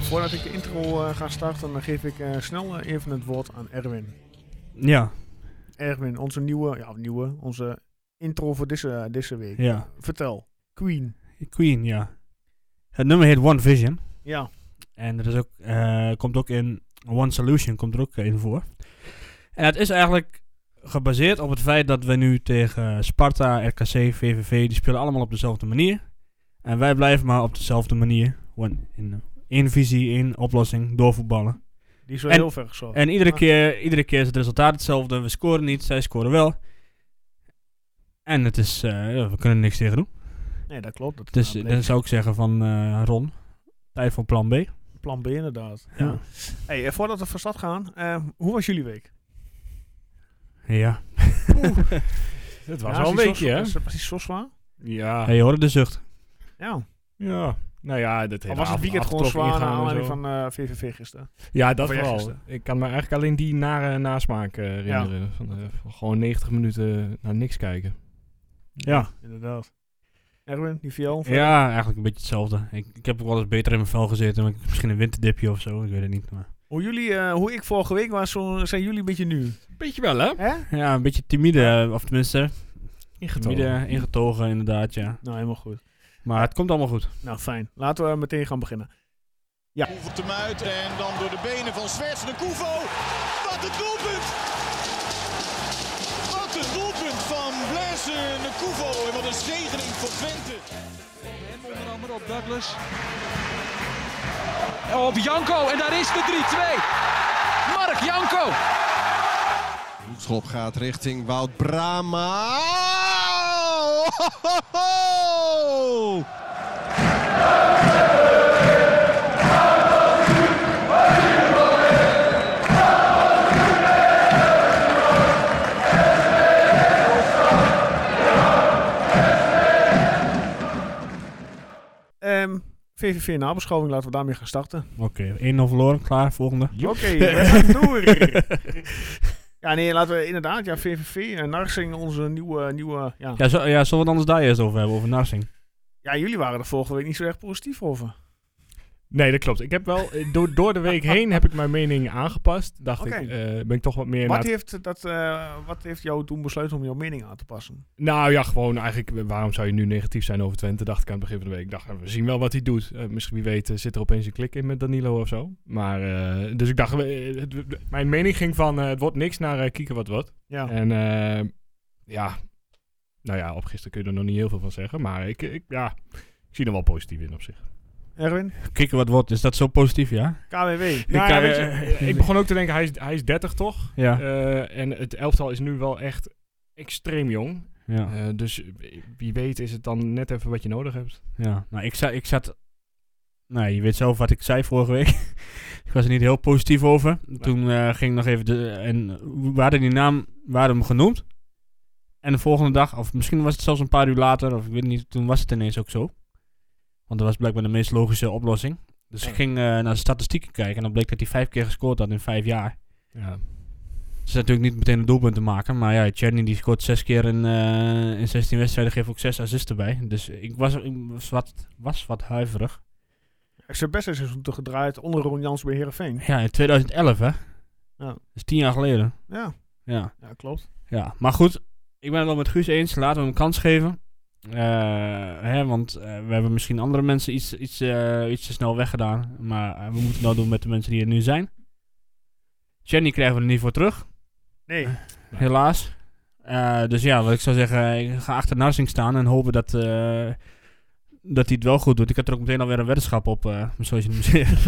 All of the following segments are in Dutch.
voordat ik de intro eh, ga starten, dan geef ik eh, snel eh, even het woord aan Erwin. Ja, Erwin, onze nieuwe, ja, nieuwe, onze intro voor deze, deze week. ja. Vertel, Queen. Queen, ja. Het nummer heet One Vision. Ja, En dat is ook, eh, komt ook in One Solution komt er ook eh, in voor. En het is eigenlijk gebaseerd op het feit dat we nu tegen Sparta, RKC, VVV, die spelen allemaal op dezelfde manier. En wij blijven maar op dezelfde manier. Gewoon in eh, één visie, één oplossing, doorvoetballen. die is wel En- heel ver gezocht. En iedere Ah. keer, iedere keer is het resultaat hetzelfde. We scoren niet, zij scoren wel. En het is, eh, ja, we kunnen er niks tegen doen. nee, dat klopt. Dat Dus dat eh, dan zou ik zeggen van eh, Ron, tijd voor plan B. bleek plan B inderdaad. Ja. Ja. Hey, eh, voordat we van start gaan, eh, hoe was jullie week? ja. Het Ja, was al een is die zo weekje, zwa- hè? Is dat precies zo zwaar? Ja. Ja, je hoorde de zucht. Ja. ja. Nou ja, dat Al hele was het af- weekend gewoon afgetrokken zwaar naar ingaan en aanleiding zo. van eh, VVV gisteren? Ja, dat van jij vooral. gisteren. Ik kan me eigenlijk alleen die nare nasmaak eh, herinneren. Van, eh, van gewoon 90 minuten naar niks kijken. Ja. Inderdaad. Erwin, die VL? Ja, eigenlijk een beetje hetzelfde. Ik, ik heb ook wel eens beter in mijn vel gezeten. Maar ik- misschien een winterdipje of zo, ik weet het niet. Maar. Hoe, jullie, eh, hoe ik vorige week was, zo zijn jullie een beetje nu. Beetje wel, hè? Hè? Ja, een beetje timide, eh, of tenminste, timide, Ingetogen. ingetogen inderdaad, ja. Nou, helemaal goed. Maar het komt allemaal goed. Nou, fijn. Laten we meteen gaan beginnen. Over hem uit en dan door de benen van Zwerts de Kuvo. Wat een doelpunt! Wat een doelpunt van Blaise de Kuvo. En wat een zegening voor Twente. Hem onder andere op Douglas. Op Janko en daar is de 3-2. Mark Janko. Schop gaat richting Wout Brama. Ehm, VVV nabeschouwing, laten we daarmee gaan starten. Oké, 1-0 verloren, klaar, volgende. Oké, we gaan door. Ja, nee, laten we inderdaad, ja, VVV en Narsing, onze nieuwe, nieuwe ja. Ja, zo, ja, zullen we het anders daar eerst over hebben, over Narsing? ja, jullie waren er vorige week niet zo erg positief over. Nee, dat klopt. Ik heb wel... eh, Door, door de week heen heb ik mijn mening aangepast. Dacht Oké. ik, eh, ben ik toch wat meer... naar Wat heeft, dat, eh, wat heeft jou toen besluiten om jouw mening aan te passen? Nou ja, gewoon eigenlijk, eh, waarom zou je nu negatief zijn over Twente, dacht ik aan het begin van de week. Ik dacht, eh, we zien wel wat hij doet. Eh, misschien, wie weet, eh, zit er opeens een klik in met Danilo of zo. Maar, eh, dus ik dacht, eh, het- het- mijn mening ging van, eh, het wordt niks naar eh, kieken wat wat. Ja, En, eh, ja, nou ja, op gisteren kun je er nog niet heel veel van zeggen. Maar ik, ik, ja, ik zie er wel positief in op zich. Erwin? Kikken wat wordt, is dat zo positief, ja? KWW. Nou ja, ja, weet je, eh, ik begon ook te denken, hij is, hij is 30 toch? Ja. Eh, en het elftal is nu wel echt extreem jong. ja. Eh, dus eh, wie weet is het dan net even wat je nodig hebt. Ja, nou, ik, zat, ik zat... Nou, je weet zelf wat ik zei vorige week. ik was er niet heel positief over. Toen eh, ging ik nog even... De, en we hadden die naam we hadden hem genoemd. En de volgende dag, of misschien was het zelfs een paar uur later, of ik weet niet, toen was het ineens ook zo. Want dat was blijkbaar de meest logische oplossing. Dus ik ging eh, naar de statistieken kijken en dan bleek dat hij vijf keer gescoord had in vijf jaar. Ja. Dat is natuurlijk niet meteen een doelpunt te maken, maar ja, Cherny die scoort zes keer in, eh, in 16 wedstrijden, geeft ook zes assists erbij. Dus ik was, ik was, wat, was wat huiverig. Ik heb best een seizoen te gedraaid onder Ron Jans bij Heerenveen. Ja, in 2011 hè. Ja. Dat is tien jaar geleden. Ja, Ja. ja klopt. ja. Maar goed, ik ben het wel met Guus eens. Laten we hem een kans geven. Eh, hè, want eh, we hebben misschien andere mensen iets, iets, eh, iets te snel weggedaan. Maar eh, we moeten het nou doen met de mensen die er nu zijn. Jenny krijgen we er niet voor terug, Nee, helaas. Eh, dus ja, wat ik zou zeggen, ik ga achter Narsing staan en hopen dat, eh, dat hij het wel goed doet. Ik heb er ook meteen alweer een weddenschap op, eh zoals je hem zegt.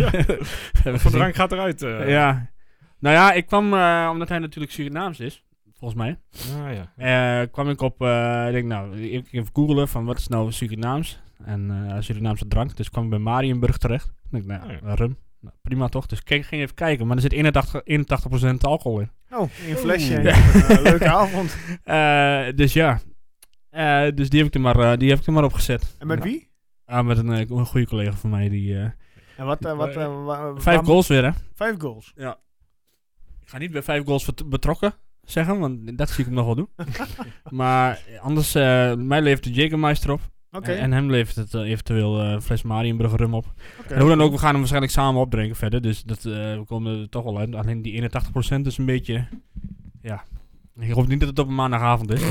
Van drank gaat eruit. eh. Ja. Nou ja, ik kwam, eh, omdat hij natuurlijk Surinaams is, volgens mij, Ah, ja. eh, kwam ik op, eh, ik denk nou, ik even googelen van wat is nou Surinaams? En eh, Surinaamse drank, dus kwam ik bij Marienburg terecht. Ik denk, nou, Oh rum. Nou, prima toch? Dus ik ging ging even kijken, maar er zit 81, 81% alcohol in. nou, een flesje. en je hebt een, eh, leuke avond. Eh, dus ja, Eh, dus die heb ik er maar, eh, die heb ik er maar op gezet. En met Nou, wie? ah, met een, eh, een goede collega van mij. Die, eh, En wat, eh, wat, eh, wa- wa- vijf waarom- goals weer, hè? Vijf goals. Ik ga niet bij vijf goals vert- betrokken zeggen, want dat zie ik hem nog wel doen. maar anders, eh, mij levert de Jägermeister op. Oké. En, en hem levert het eh, eventueel eh fles Marienburger rum op. oké. En hoe dan ook, we gaan hem waarschijnlijk samen opdrinken verder. Dus dat, eh, we komen er toch wel uit. Alleen die 81% is een beetje... Ja. Ik hoop niet dat het op een maandagavond is.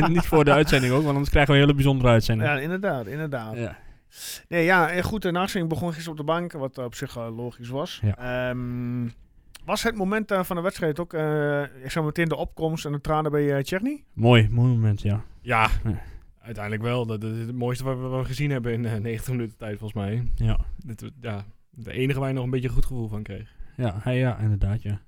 want- niet voor de uitzending ook, want anders krijgen we een hele bijzondere uitzending. Ja, inderdaad, inderdaad. Ja. Nee, ja, en goed, en Narsing begon gisteren op de bank, wat op zich eh, logisch was. Ja. Ehm, was het moment eh, van de wedstrijd ook, eh, ik zou meteen de opkomst en de tranen bij eh Tjerni? Mooi, mooi moment, ja. Ja, Ja. uiteindelijk wel. Dat, dat is het mooiste wat we, wat we gezien hebben in eh, 90 minuten tijd, volgens mij. Ja, Dit, ja, de enige waar je nog een beetje een goed gevoel van kreeg. ja, hij- ja inderdaad, ja.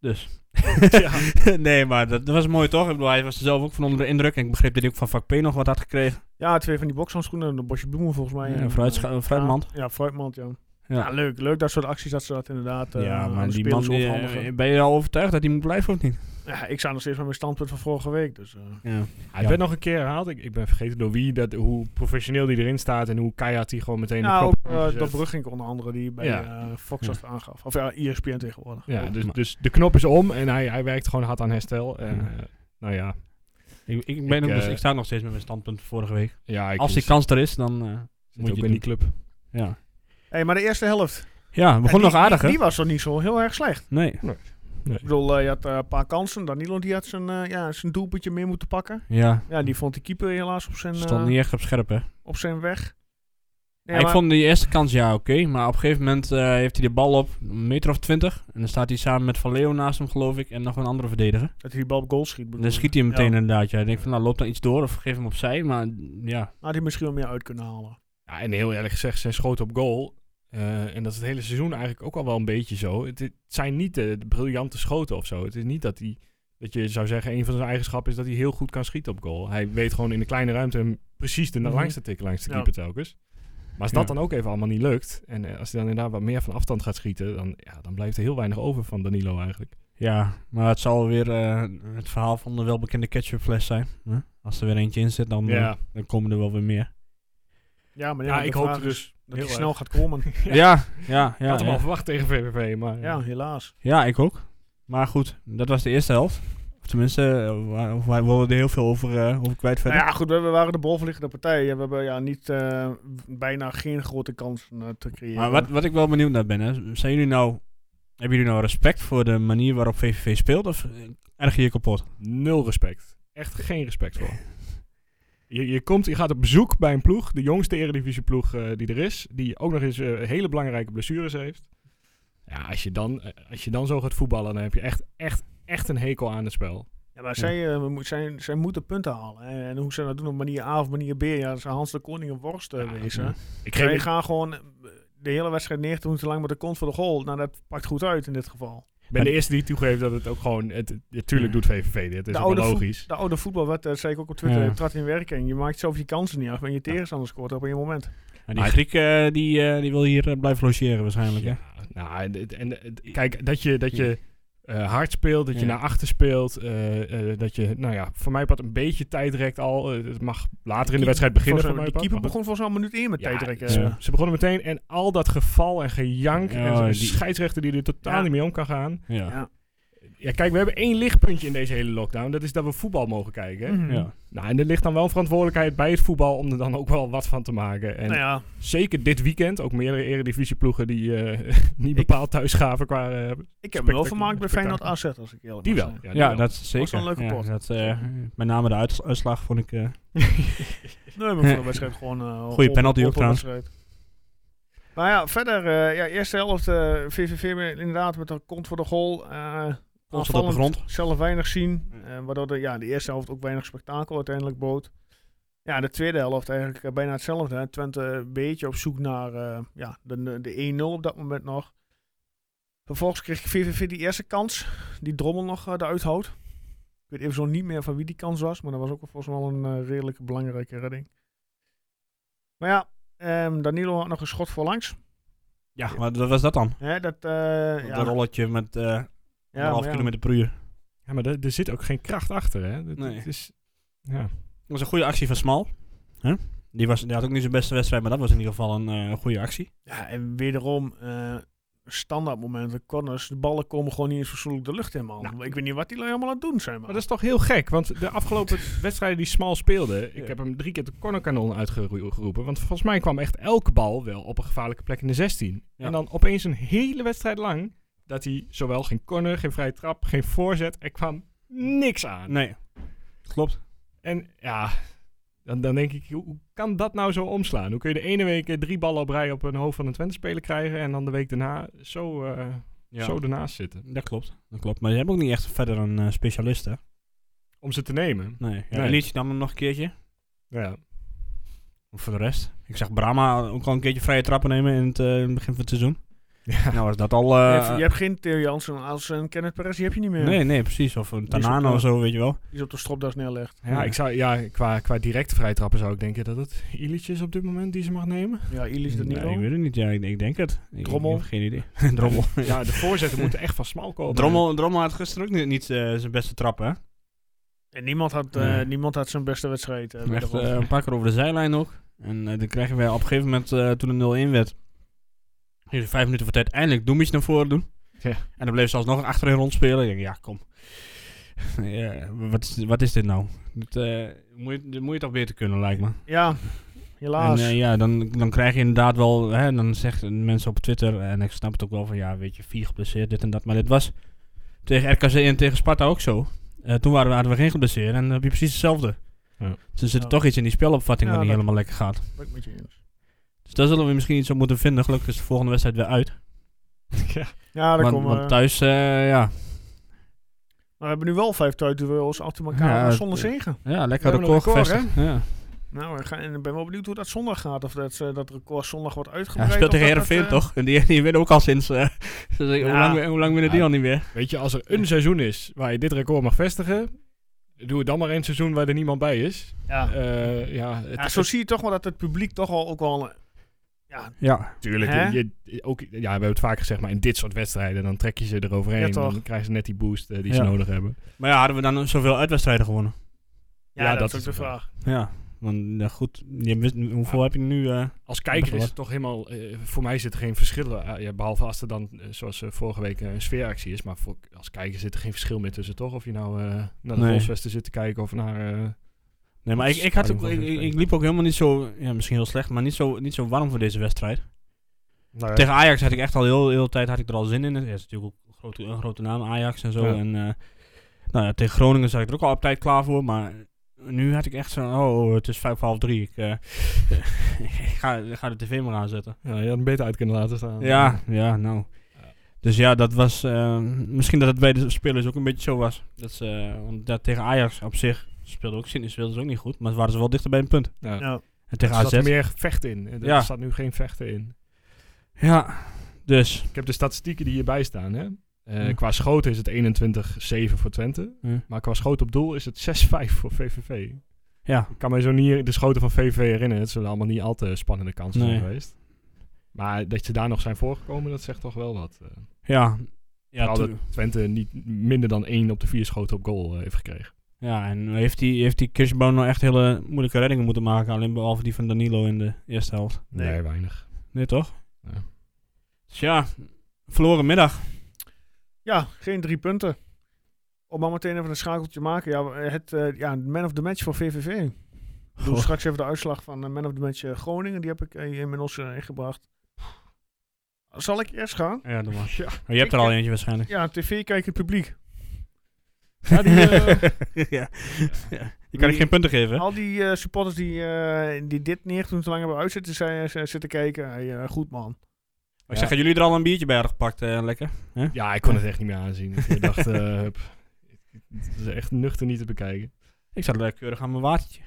Dus. Ja. nee, maar dat, dat was mooi toch? Ik bedoel, hij was er zelf ook van onder de indruk. En ik begreep dat hij ook van vak P nog wat had gekregen. Ja, twee van die bokshandschoenen, een bosje bloemen volgens mij. Ja, En, fruitscha- eh, fruitmand. Ja, ja, fruitmand, ja. Ja. Ja. leuk, leuk dat soort acties, dat ze dat inderdaad eh, ja, aan maar de die man, spelers die, overhandigen. eh, ben je al overtuigd dat hij moet blijven of niet? ja, ik sta nog steeds bij mijn standpunt van vorige week, dus... eh, Ja. Hij werd nog een keer herhaald. Ik, ik ben vergeten door wie, dat, hoe professioneel die erin staat en hoe keihard hij gewoon meteen de Nou, knop ook heeft eh, gezet. dat Brugink onder andere, die bij Ja. eh, Fox dat aangaf. Of ja, E ESPN tegenwoordig. Ja, dus, maar- dus de knop is om en hij, hij werkt gewoon hard aan herstel. En, Ja. eh, nou ja, Ik, ik, ben Ik, ook nog- eh, ik sta nog steeds met mijn standpunt van vorige week. ja ik Als die is- kans er is, dan eh, zit moet je ook het in die club. doen. Ja, hey, maar de eerste helft. ja het begon Ja, die- nog aardig, hè? Die was toch niet zo heel erg slecht. Nee. Ik bedoel, eh, je had eh, een paar kansen. Danilo die had zijn, eh, ja, zijn doelpuntje meer moeten pakken. Ja, Ja, die vond de keeper helaas op zijn, stond eh, niet echt op scherp, hè? op zijn weg. Nee, Ja, ik maar- vond die eerste kans ja oké, maar op een gegeven moment eh, heeft hij de bal op een meter of twintig. En dan staat hij samen met Van Leeuwen naast hem, geloof ik, en nog een andere verdediger. dat hij die bal op goal schiet. bedoel Dan ik. schiet hij hem Ja. meteen inderdaad. Ja. Ik denk van, nou loopt dan iets door of geef hem opzij, maar mm, ja. Had hij misschien wel meer uit kunnen halen. Ja, en heel eerlijk gezegd, zijn schoten op goal. eh, en dat is het hele seizoen eigenlijk ook al wel een beetje zo. Het, het zijn niet de, de briljante schoten of zo. Het is niet dat hij, dat je zou zeggen, een van zijn eigenschappen is dat hij heel goed kan schieten op goal. Hij weet gewoon in de kleine ruimte hem precies de Mhm. langste tik langs de Ja. keeper telkens. Maar als dat Ja. dan ook even allemaal niet lukt, en eh, als hij dan inderdaad wat meer van afstand gaat schieten, dan, ja, dan blijft er heel weinig over van Danilo eigenlijk. Ja, maar het zal weer eh, het verhaal van de welbekende ketchupfles zijn. hè? Als er weer eentje in zit, dan, eh, Ja. dan komen er wel weer meer. Ja, maar ja, Ja, de ik hoop vraag is dus dat heel hij erg. snel gaat komen. Ja, ja, ja. Ik had hem ja. al verwacht tegen VVV, maar ja, helaas. Ja, ik ook. Maar goed, dat was de eerste helft. Of tenminste, eh, waar, of wij wilden er heel veel over, eh, over kwijt Nou verder. ja, goed, we, we waren de bolverliggende partij. Ja, We hebben ja, niet, eh, bijna geen grote kans te creëren. Maar wat, wat ik wel benieuwd naar ben, hè, zijn jullie nou, hebben jullie nou respect voor de manier waarop VVV speelt? Of eh, erg je je kapot? nul respect. Echt geen respect voor. Je, je, komt, je gaat op bezoek bij een ploeg, de jongste eredivisieploeg eh, die er is, die ook nog eens eh, hele belangrijke blessures heeft. Ja, als je, dan, eh, als je dan zo gaat voetballen, dan heb je echt, echt, echt een hekel aan het spel. Ja, maar zij, eh, moet- zij, zij moeten punten halen. En, en hoe ze dat doen op manier A of manier B, ja, dat zijn Hans de Koning een worst eh, Ja, wezen. ja. Ik Zij geef, gaan gewoon eh, de hele wedstrijd 90 minuten lang met de kont voor de goal. Nou, dat pakt goed uit in dit geval. ik ben de eerste die toegeeft dat het ook gewoon... het- het- Natuurlijk doet VVV dit, het is de, ook oude wel voet- logisch. de oude voetbal, wat eh, zei ik ook op Twitter, Ja. trad in werking. Je maakt zelf je kansen niet af en je tegenstander scoort op een moment. Maar die Griek eh, die, eh, die wil hier eh, blijven logeren waarschijnlijk. Hè? Ja, nou, en, het- en eh, het- kijk, dat je, dat je eh, hard speelt, dat je Ja. naar achter speelt, eh, eh, dat je, nou ja, voor mij wat een beetje tijd rekt al. Eh, het mag later in de wedstrijd beginnen. Volgens mij- die voor mij part, keeper maar begon volgens mij al minuut 1 met Ja, tijdrekken. ja. Ja. goed. Ze begonnen meteen en al dat geval en gejank Ja, en zo'n die- scheidsrechter die er totaal Oh, Ja. niet mee om kan gaan. Ja. Ja. Ja, kijk, we hebben één lichtpuntje in deze hele lockdown. Dat is dat we voetbal mogen kijken. Mhm. Ja. Nou, en er ligt dan wel een verantwoordelijkheid bij het voetbal om er dan ook wel wat van te maken. En Nou ja, zeker dit weekend, ook meerdere eredivisieploegen die eh, niet bepaald thuis gaven qua eh, ik heb me wel Spectac- vermaakt bij Feyenoord AZ, als ik eerlijk Die mag wel. zijn. Ja, Ja, dat is zeker. wel een leuke Ja, pot. dat, eh, met name de uits- uitslag vond ik... eh, Nee, maar voor de wedstrijd gewoon... eh Goeie op- penalty op- ook op trouwens. wedstrijd. Maar ja, verder, eh, ja, eerste helft, eh VVV met- inderdaad met een kont voor de goal. eh Kont voor de aanvallend grond. Zelf weinig zien, eh, waardoor de, ja, de eerste helft ook weinig spektakel uiteindelijk bood. Ja, de tweede helft eigenlijk eh, bijna hetzelfde. Hè. Twente eh, een beetje op zoek naar eh, ja, de, de 1-0 op dat moment nog. Vervolgens kreeg VVV die eerste kans, die Drommel nog eh, eruit houdt. Ik weet even zo niet meer van wie die kans was, maar dat was ook volgens mij wel een eh, redelijk belangrijke redding. Maar ja, ehm, Danilo had nog een schot voorlangs. ja, maar wat was dat dan? Hè, dat, eh, ja, Dat rolletje met eh ja, maar half ja. kilometer per uur. Ja, maar er, er zit ook geen kracht achter, hè? Dat, Nee. Het is, ja. Dat was een goede actie van Smal. Hè? Die, was, die had ook niet zijn beste wedstrijd, maar dat was in ieder geval een eh, goede actie. Ja, en wederom, eh, standaard momenten, corners, de ballen komen gewoon niet eens fatsoenlijk de lucht in, man. Nou. ik weet niet wat die lui allemaal aan het doen zijn, man. Maar dat is toch heel gek, want de afgelopen wedstrijden die Smal speelde, ik Ja. heb hem drie keer de cornerkanon uitgeroepen, want volgens mij kwam echt elke bal wel op een gevaarlijke plek in de 16. Ja. En dan opeens een hele wedstrijd lang dat hij zowel geen corner, geen vrije trap, geen voorzet, er kwam niks aan. Nee. Klopt. En ja, dan, dan denk ik, hoe hoe kan dat nou zo omslaan? Hoe kun je de ene week eh, drie ballen op rij op een hoofd van een Twente-speler krijgen en dan de week daarna zo, eh, Ja. zo ernaast zitten? Dat klopt. Dat klopt. Maar ze hebben ook niet echt verder een eh, specialist, hè? Om ze te nemen. Nee. Ja, Nee. Illich nam hem nog een keertje. Ja. Voor de rest. Ik zag Brahma ook al een keertje vrije trappen nemen in het eh, in het begin van het seizoen. ja. Nou was dat al... eh, je, hebt, je hebt geen Theo Jansen als een Kenneth Perez, die heb je niet meer. nee, nee, precies. Of een Die is Tanano ook, of zo, weet je wel. Die is op de stropdas neerlegt. Ja, ik zou, ja qua, qua directe vrijtrappen zou ik denken dat het Illich is op dit moment die ze mag nemen. Ja, Ilis dat niet Nee, wel. ik weet het niet. Ja, ik, ik denk het. Ik, Drommel. Ik heb geen idee. Drommel. Ja, de voorzetten moeten echt van smal komen. Drommel, Drommel had gisteren ook niet, niet eh, zijn beste trap, hè? En niemand had, eh, Nee. niemand had zijn beste wedstrijd. eh, bij de Echt Wolves. eh, een paar keer over de zijlijn ook. En eh, dan kregen we op een gegeven moment, eh, toen de 0-1 werd, hier vijf minuten voor tijd eindelijk Doemitje naar voren doen. Ja. En dan bleef ze alsnog achterin rondspelen. Ik denk, ja, kom. ja, wat, is, wat is dit nou? Dit, eh, moet, je, dit moet je toch beter kunnen, lijkt me. Ja, En helaas. eh, ja, dan, dan krijg je inderdaad wel, hè, dan zeggen mensen op Twitter, en ik snap het ook wel van, ja, weet je, vier geblesseerd, dit en dat. Maar dit was tegen RKC en tegen Sparta ook zo. Eh, toen waren we, hadden we geen geblesseerd en dan heb je precies hetzelfde. Ja. Dus er zit Ja. toch iets in die spelopvatting Ja, wat niet dat- helemaal lekker gaat. Ben ik met je eens. Dus daar zullen we misschien iets op moeten vinden. Gelukkig is de volgende wedstrijd weer uit. Ja, daar Want, komen want we. thuis, eh, ja. Maar we hebben nu wel vijf thuisduels achter elkaar Ja, maar het- zonder zegen. ja, lekker We hebben een record, record, gevestigd. Ja. Nou, ik ga- en ik ben wel benieuwd hoe dat zondag gaat. Of dat, eh, dat record zondag wordt Ja, uitgebreid. speelt of tegen dat Heerenveen het, eh, toch? En die, die winnen ook al sinds, eh, hoe Ja. lang, hoe lang winnen die Ja. al niet meer? Weet je, als er een seizoen is waar je dit record mag vestigen, doe het dan maar een seizoen waar er niemand bij is. Ja. Eh, ja, het, Ja, zo zie je toch wel dat het publiek toch al ook wel... eh, Ja, Ja, Tuurlijk, Hè? je, je- ook, ja, we hebben het vaak gezegd, maar in dit soort wedstrijden, dan trek je ze eroverheen. Ja, en toch. dan krijgen ze net die boost eh, die ze Ja. nodig hebben. maar ja, hadden we dan zoveel uitwedstrijden gewonnen? ja, Ja, dat, dat is ook is de het wel. vraag. Ja, want eh, goed, je wist, hoeveel heb je nu? eh Als kijker Begrijp. is het toch helemaal, eh, voor mij zit er geen verschil, eh, ja, behalve als er dan, eh, zoals eh, vorige week, eh, een sfeeractie is. Maar voor, als kijker zit er geen verschil meer tussen, toch? Of je nou eh, naar de Nee. Volkswesten zit te kijken of naar... eh, nee, maar ik, ik, had ook, ik, ik- ik liep ook helemaal niet zo, ja, misschien heel slecht, maar niet zo, niet zo warm voor deze wedstrijd. naar Tegen Ajax had ik echt al heel, heel de tijd had ik er al zin in. Het is natuurlijk ook een grote, een grote naam, Ajax en zo. Ja. En, eh, nou ja, tegen Groningen zat ik er ook al op tijd klaar voor, maar nu had ik echt zo, oh, het is vijf voor half drie, ik, eh, ik, ga, ik ga de tv maar aanzetten. ja, je had hem beter uit kunnen laten staan. Ja, ja, nou. Dus ja, dat was. eh, misschien dat het bij de spelers ook een beetje zo was. Dat ze, eh, want dat tegen Ajax op zich speelde ook Sydney speelde ze ook niet goed. Maar ze waren ze wel dichter bij een punt. Ja. Ja. En tegen Er AZ. zat meer vechten in. Er Ja. staat nu geen vechten in. Ja, dus. Ik heb de statistieken die hierbij staan, hè. Eh, Ja. Qua schoten is het 21-7 voor Twente. Ja. Maar qua schoten op doel is het 6-5 voor VVV. ja. Ik kan mij zo niet de schoten van VV herinneren. Het zullen allemaal niet al te spannende kansen Nee. zijn geweest. Maar dat ze daar nog zijn voorgekomen, dat zegt toch wel wat. eh. Ja. Ja, Terwijl tu- dat Twente niet minder dan één op de vier schoten op goal eh, heeft gekregen. ja, en heeft die, heeft die Kirschbaum nou echt hele moeilijke reddingen moeten maken. Alleen behalve die van Danilo in de eerste helft. Nee. Nee, weinig. Nee, toch? Ja. Dus ja, verloren middag. Ja, geen drie punten. Om maar meteen even een schakeltje te maken. Ja, het eh, ja, man of the match voor VVV. Ik doe Goh. straks even de uitslag van eh, man of the match eh, Groningen. Die heb ik eh, hier inmiddels eh, ingebracht. Zal ik eerst gaan? Ja, dat was. Maar je hebt er al eentje waarschijnlijk. Ja, tv kijken publiek. Ja, die, eh, ja. ja. Je kan ik geen punten geven. hè? Al die eh, supporters die, eh, die dit neer toen te lang hebben uitzitten zijn, zijn- zitten kijken. Hey, eh, goed man. Ik zeg, jullie er al een biertje bij hadden gepakt, eh, lekker? ja, ik kon het echt niet meer aanzien. Ik dacht, eh, hup. het is echt nuchter niet te bekijken. Ik zat lekker keurig aan mijn watertje.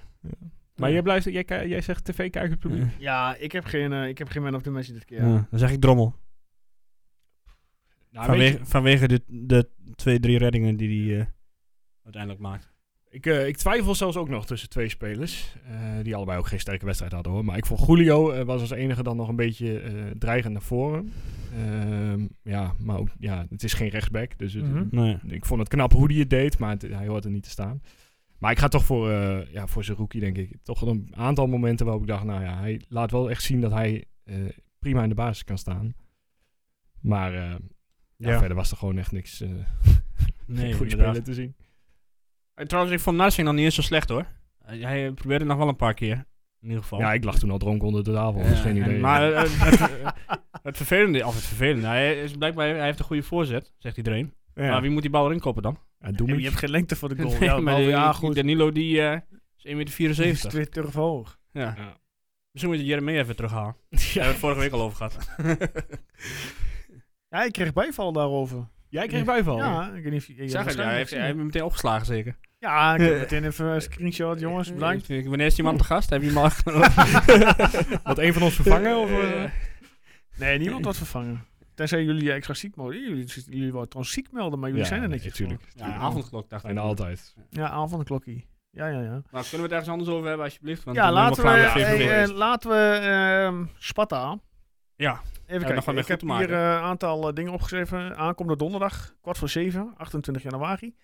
Maar Ja. jij, blijft, jij, ki- jij zegt tv kijken het publiek. Ja, ik heb geen, eh, ik heb geen man of the match dit keer. Ja, Dan zeg ik drommel. Nou, weet vanwege je- vanwege de, de twee, drie reddingen die, die hij uiteindelijk maakt. Ik, eh, ik twijfel zelfs ook nog tussen twee spelers. eh, die allebei ook geen sterke wedstrijd hadden hoor. Maar ik vond Julio eh, was als enige dan nog een beetje eh, dreigend naar voren. Ehm, ja, maar ook, ja, het is geen rechtsback. Dus het- Mhm. Nee. ik vond het knap hoe hij het deed. Maar het- hij hoort er niet te staan. Maar ik ga toch voor, eh ja, voor zijn rookie, denk ik. Toch wel een aantal momenten waarop ik dacht, nou ja, hij laat wel echt zien dat hij eh, prima in de basis kan staan. Maar eh, ja, Ja. verder was er gewoon echt niks eh Nee, goede inderdaad. spelen te zien. Eh, Trouwens, ik vond Narsing nog niet eens zo slecht hoor. Eh, Hij probeerde nog wel een paar keer. In ieder geval. Ja, ik lag toen al dronken onder de tafel. Eh, dus geen Oh. en- idee. maar eh, eh, het, eh, het vervelende, of het vervelende, hij, is blijkbaar, hij heeft een goede voorzet, zegt iedereen. Ja. Maar wie moet die bal erin koppen dan? ja, doe Ja, me. je hebt geen lengte voor de goal. Nee, ja, maar maar die- ja, die goed. Danilo die eh, is 1,74 meter. Die is twee turf hoog. Ja. Ja. Misschien moet je Jeremy even terughalen. Daar hebben we het vorige week al over gehad. Ja, ik kreeg bijval daarover. Jij kreeg bijval. Ja, ik weet niet of je- je... Ik zag het, ja, waarschijnlijk hij heeft hij gezien heeft hebt. me meteen opgeslagen zeker. Ja, ik heb meteen even een screenshot, jongens. Bedankt. Eh, Wanneer is die man te gast? Heb je hem al Wat een van ons vervangen? Of, eh? Eh, Nee, niemand wordt vervangen. Tenzij jullie extra ziek melden. Jullie, jullie worden ons ziek melden, maar jullie Ja, zijn er nee, netjes tuurlijk. voor. ja, avondklok dacht ik. En altijd. Ja, avondklokkie. Ja, ja, ja. Nou, kunnen we het ergens anders over hebben alsjeblieft? Want ja, dan laten we, gaan weer eh, even eh, door. laten we ehm, Sparta. Ja, Even nog kijken. wat Ik mee goed heb te hier maken. eh, een aantal eh, dingen opgeschreven. Aankomende donderdag, kwart voor zeven, 28 januari.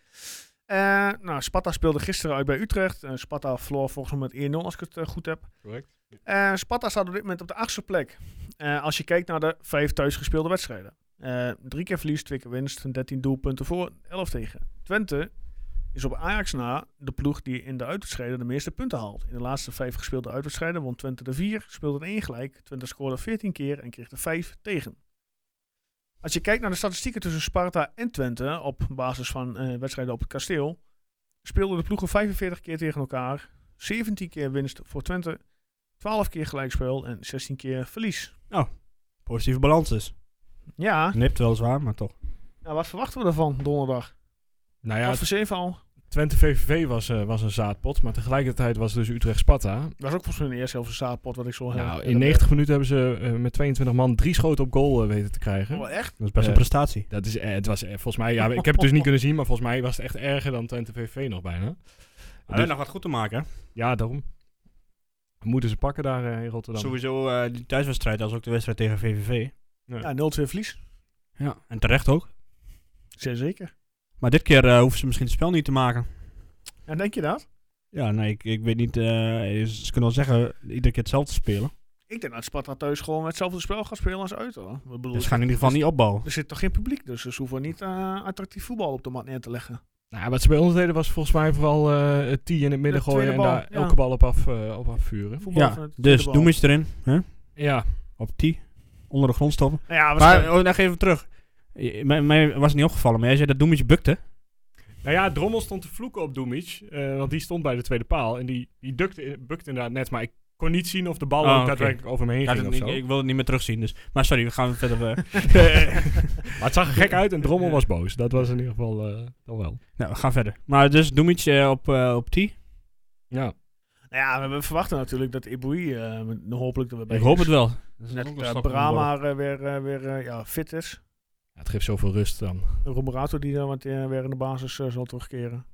Eh, nou, Sparta speelde gisteren uit bij Utrecht. Eh, Sparta verloor volgens mij met 1-0 als ik het eh, goed heb. Correct. Eh, Sparta staat op dit moment op de achtste plek. Eh, als je kijkt naar de vijf thuisgespeelde wedstrijden. Eh, drie keer verlies, twee keer winst, 13 doelpunten voor, 11 tegen. Twente is op Ajax na de ploeg die in de uitwedstrijden de meeste punten haalt. In de laatste vijf gespeelde uitwedstrijden won Twente de vier, speelde een één gelijk. Twente scoorde 14 keer en kreeg er vijf tegen. Als je kijkt naar de statistieken tussen Sparta en Twente op basis van eh, wedstrijden op het kasteel, speelden de ploegen 45 keer tegen elkaar, 17 keer winst voor Twente, 12 keer gelijkspel en 16 keer verlies. positieve balans dus. Ja, Nipt wel zwaar, maar toch. nou, wat verwachten we ervan donderdag? Nou Ja, ja, voor 7 al. Twente VVV was, eh, was een zaadpot. Maar tegelijkertijd was dus Utrecht Sparta. Dat was ook volgens mij de eerste helft een zaadpot wat ik zo heb. Nou, in 90 minuten hebben ze eh, met 22 man drie schoten op goal eh, weten te krijgen. Oh, echt? Dat is best Eh, een prestatie. Dat is, eh, het was eh, volgens mij, ja, ik heb het dus niet kunnen zien, maar volgens mij was het echt erger dan Twente VV nog bijna. Hij heeft eh, nog wat goed te maken. hè? Ja, daarom. Moeten ze pakken daar eh, in Rotterdam. Sowieso eh, die thuiswedstrijd als ook de wedstrijd tegen VVV. Ja, 0-2 verlies. Ja. En terecht ook. Zeer zeker. Maar dit keer eh, hoeven ze misschien het spel niet te maken. En denk je dat? Ja, nee, ik, ik weet niet. eh, ze kunnen wel zeggen iedere keer hetzelfde spelen. Ik denk dat Sparta thuis gewoon hetzelfde spel gaat spelen als uit. Hoor. Ik bedoel, Dus ze gaan in ieder geval niet opbouwen. Er zit toch geen publiek, dus ze hoeven niet eh, attractief voetbal op de mat neer te leggen. Nou, wat ze bij ons deden was volgens mij vooral eh het tee in het midden De gooien en tweede bal, daar ja. elke bal op, af, eh, op afvuren. Voetbal Ja, vanuit de dus bal. doe iets erin. Hè? Ja, Op 10. Onder de grond stoppen. Nou ja, Maar, waarschijnlijk- oh, nog even terug. Eh, Mij, mij was het niet opgevallen, maar jij zei dat Doemetje bukte. Nou ja, Drommel stond te vloeken op Doemic. eh, want die stond bij de tweede paal. En die, die dukte, bukte inderdaad net. Maar ik kon niet zien of de bal Oh, ook oké. daadwerkelijk over me heen Ja, ging dat- of ik, zo. ik wil het niet meer terugzien. Dus. Maar sorry, we gaan verder. eh, Maar het zag er gek uit en Drommel was boos. Dat was in ieder geval eh, dan wel. nou, we gaan verder. Maar dus Doemetje eh, op, eh, op 10. Ja. nou ja, we- we verwachten natuurlijk dat Iboui eh, met- hopelijk er weer bij Ik hoop is. het wel. Net ook een dat stap Brahma eh, weer, eh, weer eh, ja, fit is. Het geeft zoveel rust dan. Romberato die dan wat, eh, weer in de basis eh, zal terugkeren.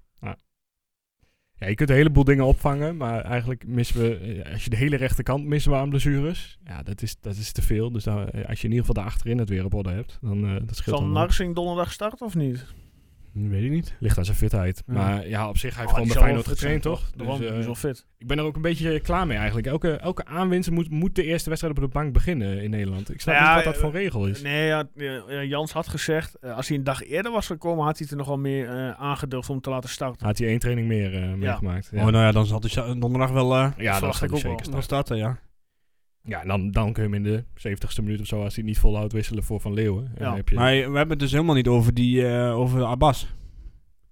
Ja, je kunt een heleboel dingen opvangen. Maar eigenlijk missen we, eh, als je de hele rechterkant missen we aan blessures. Ja, dat is, dat is te veel. Dus daar- eh, als je in ieder geval daar achterin het weer op orde hebt, dan eh, dat scheelt Zal dan wel. Narsing donderdag starten of niet? Hmm, Weet ik niet. Ligt aan zijn fitheid. Ja. Maar ja, op zich, hij Oh, die heeft gewoon bij zal Feyenoord wel fit zijn, getraind, toch? Dus, Daarom, die eh, is wel fit. Ik ben er ook een beetje klaar mee eigenlijk. Elke, elke aanwinst moet, moet de eerste wedstrijd op de bank beginnen in Nederland. Ik snap Nou ja, niet wat dat eh, voor regel is. Nee, ja, eh, Jans had gezegd, eh, als hij een dag eerder was gekomen, had hij het er nog wel meer eh, aangedurfd om te laten starten. Had hij één training meer eh, meegemaakt. Ja, Oh, nou ja, dan zal hij za- donderdag wel eh, ja dat verwacht zou ik ik ook zeker wel. wel staan. starten, ja. Ja, en dan, dan kun je hem in de 70ste minuut of zo, als hij het niet volhoudt, wisselen voor Van Leeuwen. En Ja. dan heb je- Maar we hebben het dus helemaal niet over, die, eh, over Abbas.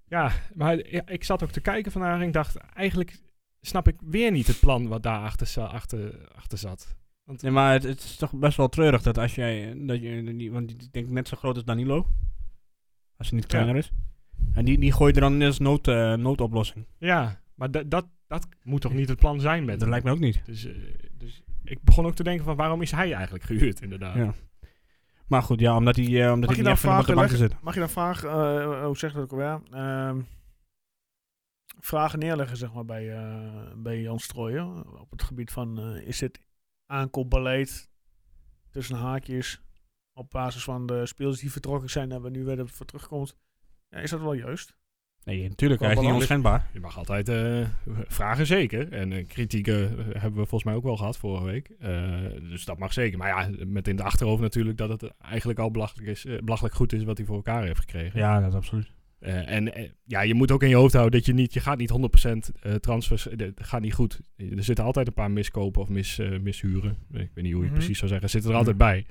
ja, maar ja, ik zat ook te kijken vandaag en ik dacht, eigenlijk snap ik weer niet het plan wat daarachter za- achter, achter zat. Nee, maar het, het is toch best wel treurig dat als jij... Dat je, die- want die die denk ik net zo groot als Danilo. Als hij niet kleiner is. En die, die gooit er dan net als nood, eh, noodoplossing. Ja, maar da- dat, dat moet toch niet het plan zijn met Dat lijkt me ook niet. Dus, eh, dus ik begon ook te denken van, waarom is hij eigenlijk gehuurd inderdaad? Ja. Maar goed, ja, omdat hij, eh, omdat Mag hij je niet dan echt van op de vragen bank zit. leggen? Mag je dan vragen, eh, hoe zeg je dat ook alweer? Ehm, vragen neerleggen, zeg maar, bij, eh bij Jan Strooijen. Op het gebied van, eh, is dit aankoopbeleid tussen haakjes op basis van de spelers die vertrokken zijn en waar nu weer voor terugkomt? Ja, is dat wel juist? Nee, natuurlijk. Hij is Wel niet belangrijk. onschendbaar. Je mag altijd eh, vragen, zeker. En eh, kritieken eh, hebben we volgens mij ook wel gehad vorige week. Eh, dus dat mag zeker. Maar ja, met in het achterhoofd natuurlijk dat het eigenlijk al belachelijk, is, eh, belachelijk goed is wat hij voor elkaar heeft gekregen. Ja, dat absoluut. Eh, en eh, ja, je moet ook in je hoofd houden dat je niet, je gaat niet 100% eh, transfers, eh, dat gaat niet goed. Er zitten altijd een paar miskopen of mis, eh, mishuren. Ik weet niet hoe je het Mhm. precies zou zeggen. Zitten er altijd bij.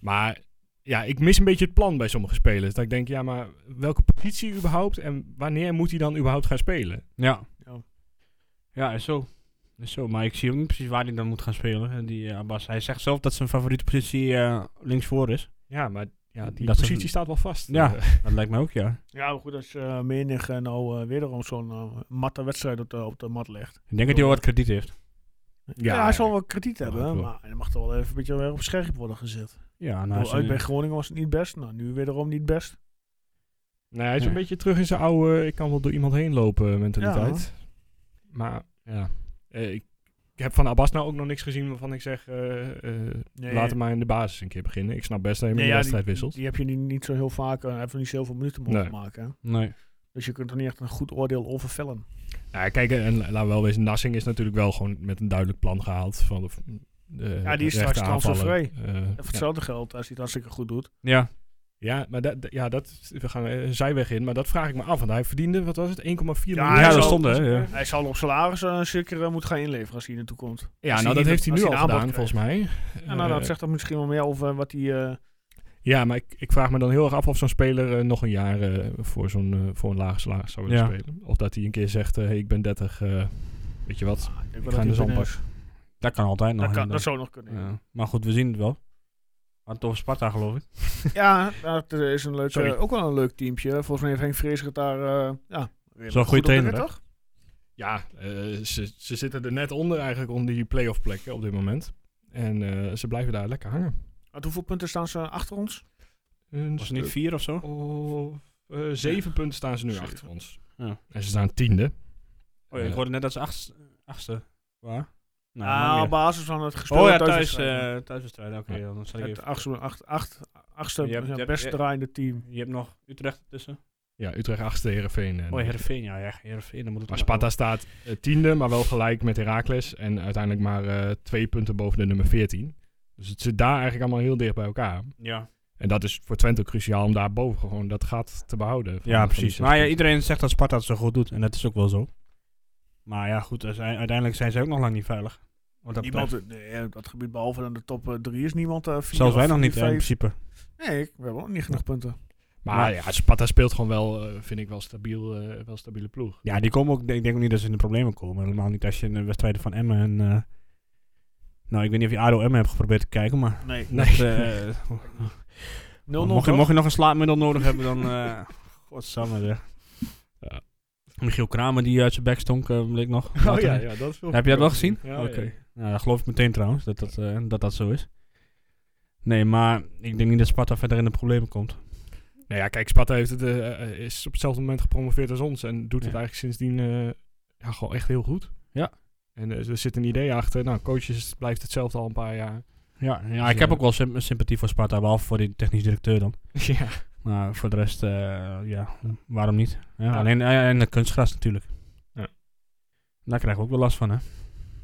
Maar ja, ik mis een beetje het plan bij sommige spelers. Dat ik denk, ja, maar welke positie überhaupt en wanneer moet hij dan überhaupt gaan spelen? Ja. Ja. Ja, is zo. Is zo. Maar ik zie ook niet precies waar hij dan moet gaan spelen. hè, Die eh, Abbas. Hij zegt zelf dat zijn favoriete positie eh, linksvoor is. Ja, maar ja, die Dat is positie een- staat wel vast. Ja. Eh, Dat lijkt mij ook, ja. Ja, maar goed, als eh menig eh, nou eh, wederom zo'n eh, matte wedstrijd op de, op de mat legt. Ik denk dat hij wel wat krediet heeft. Ja, hij zal wel krediet Mag hebben, ook wel. maar hij mag toch wel even een beetje weer op scherp worden gezet. Ja, Nou, nou, uit bij Groningen was het niet best, nou nu wederom niet best. Nee, Nou hij is een Nee. beetje terug in zijn oude ik kan wel door iemand heen lopen eh, mentaliteit. Maar ja, eh, ik, ik heb van Abbas nou ook nog niks gezien waarvan ik zeg, eh, eh, Nee. laat hem maar in de basis een keer beginnen. Ik snap best dat je hem Nee, in ja, de wedstrijd die, wisselt. die heb je niet, niet zo heel vaak, eh, hij heeft nog niet zoveel minuten mogen Nee. maken. hè. Nee. Dus je kunt er niet echt een goed oordeel over vellen. Nou, kijk, eh, en la- laten we wel wezen, Nassing is natuurlijk wel gewoon met een duidelijk plan gehaald. Van de, de Eh, Ja, die is straks transfervrij. En voor ja. hetzelfde geld, als hij het hartstikke goed doet. Ja. ja, maar dat, ja, dat, we gaan eh, een zijweg in, maar dat vraag ik me af. Want hij verdiende, wat was het, 1,4 miljoen? hij Ja, zal- dat stond er. Ja. Hij zal op salaris eh, zeker eh, moeten gaan inleveren als hij naartoe komt. Ja, Als hij nou dat een- heeft hij als nu al hij een gedaan, aanbod volgens mij. Ja, nou, Eh, dat zegt dan misschien wel meer over wat hij... eh, Ja, maar ik, ik vraag me dan heel erg af of zo'n speler eh, nog een jaar eh, voor, zo'n, eh, voor een lage salaris zou willen Ja. spelen. Of dat hij een keer zegt, eh, hey, ik ben 30, eh, weet je wat. ah, ik denk ga dus wel in de hij zon binnen is. Dat kan altijd nog. Dat, kan, dat inderdaad. zou nog kunnen. Ja, eh, Ja. Maar goed, we zien het wel. We hadden het over Sparta, geloof ik. dat eh, is een leuk, Sorry. eh, ook wel een leuk teampje. Volgens mij heeft Henk Vrees het daar... eh ja, redelijk goede goed op de trainer, rit, hè? toch? Ja, eh, ze, ze zitten er net onder eigenlijk, onder die playoff plekken op dit moment. En eh, ze blijven daar lekker hangen. Uit hoeveel punten staan ze achter ons? Een Was het niet stuk vier of zo? of, eh, zeven punten staan ze nu Zeven. achter ons. Ja. En ze staan tiende. Oh, ja, ik Ja. hoorde net dat ze achtste, achtste waren. Nou, Ah, maakt niet op basis van het uit. gespeelde oh ja, thuis, thuiswedstrijden. eh thuiswedstrijden. Oké, Ja. dan zal ik het even... achtste, acht, acht, achtste Je hebt- ja, je hebt- best je- draaiende team. Je hebt nog Utrecht tussen. Ja, Utrecht achtste, Heerenveen. En, Oh, Heerenveen, ja, ja. Heerenveen, dan moet het Maar nog Sparta staat eh, tiende, maar wel gelijk met Heracles. En uiteindelijk maar eh, twee punten boven de nummer 14. Dus het zit daar eigenlijk allemaal heel dicht bij elkaar. wel. Ja, En dat is voor Twente ook cruciaal om daar boven gewoon dat gat te behouden. van- ja van precies. die Maar ja, zes punten. iedereen zegt dat Sparta het zo goed doet. En dat is ook wel zo. Maar ja, goed. er zijn- uiteindelijk zijn ze ook nog lang niet veilig. Wat dat betreft. Niemand, nee, op dat gebied behalve dan de top eh, drie is niemand. eh vier Zelfs of wij nog vier, niet, hè, in vijf. principe. Nee, ik, we hebben ook niet genoeg punten. maar ja, Sparta speelt gewoon wel, eh, vind ik, wel stabiel, eh, wel stabiele ploeg. Ja, die komen ook. Ik denk ook niet dat ze in de problemen komen. Helemaal niet als je in de wedstrijden van Emmen en. eh, nou, ik weet niet of je ADO Emmen hebt geprobeerd te kijken, maar. Nee, 0-0 dat, eh, mocht, je, toch? mocht je nog een slaapmiddel nodig hebben, dan. eh godsamme, zeg. Ja. Michiel Kramer die uit zijn bek stonk, eh, bleek nog. Oh Later. ja, ja, dat Heb je dat wel gezien? Ja, Oké. Nou, dat geloof ik meteen trouwens, dat dat, eh, dat dat zo is. Nee, maar ik denk niet dat Sparta verder in de problemen komt. Nou ja, kijk, Sparta heeft het, eh, eh, is op hetzelfde moment gepromoveerd als ons. En doet het Ja. eigenlijk sindsdien eh, ja, gewoon echt heel goed. Ja. En eh, er zit een idee achter. Nou, coaches blijft hetzelfde al een paar jaar. Ja, ja Dus, ik heb eh, ook wel sym- sympathie voor Sparta, behalve voor die technisch directeur dan. ja. Maar voor de rest, eh, ja, waarom niet? Ja, Alleen eh, en de kunstgras natuurlijk. Ja. Daar krijgen we ook wel last van, hè?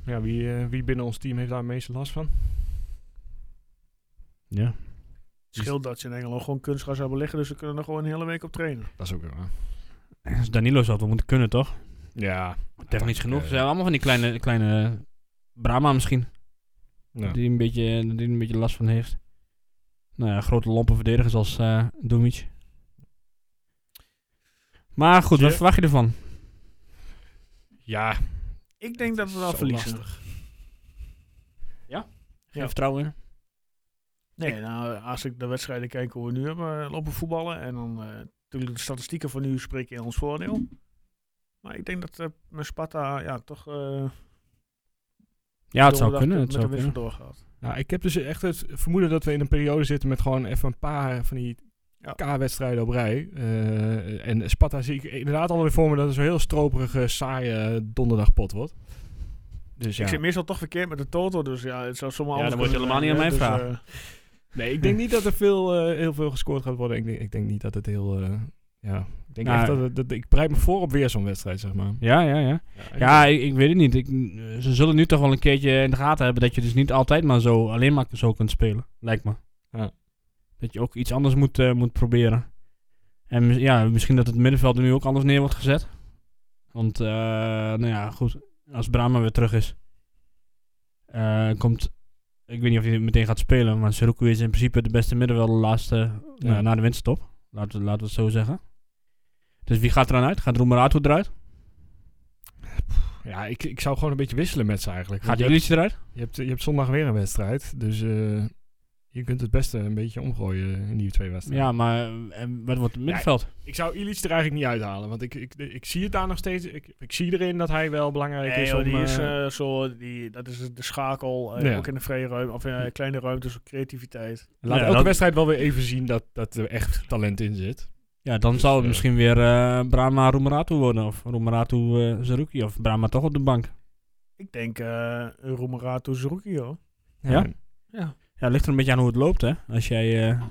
Ja, wie, eh, wie binnen ons team heeft daar het meeste last van? Ja. scheelt dat ze in Engeland gewoon kunstgras hebben liggen, dus ze kunnen er gewoon een hele week op trainen. Dat is ook wel. Dus Danilo zou het wel moeten kunnen, toch? Ja. Technisch genoeg. eh, Ze zijn allemaal van die kleine, kleine Brahma misschien. Ja. Die, een beetje, die een beetje last van heeft. Nou ja, grote lompe verdedigers als eh Dumic. Maar goed, wat Ja. verwacht je ervan? ja. Ik denk dat we wel Zo verliezen. Geen Ja. vertrouwen in? Nee, nou, als ik de wedstrijden kijk hoe we nu hebben eh, lopen voetballen. En dan eh, natuurlijk de statistieken van nu spreken in ons voordeel. Maar ik denk dat eh, mijn Sparta ja, toch eh, Ja, het zou donderdag kunnen. Het met de zou winst kunnen. vandoor gaat. Nou, ik heb dus echt het vermoeden dat we in een periode zitten met gewoon even een paar van die Ja. K-wedstrijden op rij. Eh, en Sparta zie ik inderdaad alweer voor me dat het zo'n heel stroperige, saaie donderdagpot wordt. Dus ja. Ik zit meestal toch verkeerd met de total, dus ja, het zou zomaar Ja, anders dan moet je kunnen helemaal zijn, niet aan hè. mij Dus, eh, Nee, ik denk niet dat er veel, eh, heel veel gescoord gaat worden. Ik denk, ik denk niet dat het heel, eh, Ja, ik denk Nou, echt dat, het- dat- ik bereid me voor op weer zo'n wedstrijd, zeg maar. Ja, ja, ja. ik- Ja, ik, ik weet het niet. Ik, eh, ze zullen nu toch wel een keertje in de gaten hebben dat je dus niet altijd maar zo, alleen maar zo kunt spelen. Lijkt me. Ja. Dat je ook iets anders moet, eh, moet proberen. En mis- ja, misschien dat het middenveld er nu ook anders neer wordt gezet. Want, eh, nou ja, goed. Als Brahma weer terug is, eh, komt. Ik weet niet of hij meteen gaat spelen, maar Seruku is in principe de beste middenvelder de laatste. nou ja, na de winterstop. Laten we, laten we het zo zeggen. Dus wie gaat er dan uit? Gaat Roemerato eruit? Ja, ik, ik zou gewoon een beetje wisselen met ze eigenlijk. Gaat Want je, Illich eruit? hebt, je, hebt, je hebt zondag weer een wedstrijd, dus eh, je kunt het beste een beetje omgooien in die twee wedstrijden. Ja, maar eh, en wat wordt het middenveld? Ik zou Illich er eigenlijk niet uithalen, want ik, ik, ik zie het daar nog steeds. Ik, ik zie erin dat hij wel belangrijk Nee, is joh, om... die is eh, eh, zo, die, dat is de schakel, eh, Ja. ook in de vrije ruimte, of eh, kleine ruimtes, creativiteit. laat Ja, elke dat- wedstrijd wel weer even zien dat, dat er echt talent in zit. Ja, dan Dus, zou het eh, misschien weer eh Brahma Roemeratu worden. Of Roemeratu eh Zerouki. Of Brahma toch op de bank. Ik denk eh Roemerato Zerouki, hoor. Ja? Ja, ligt er een beetje aan hoe het loopt, hè. Als jij... eh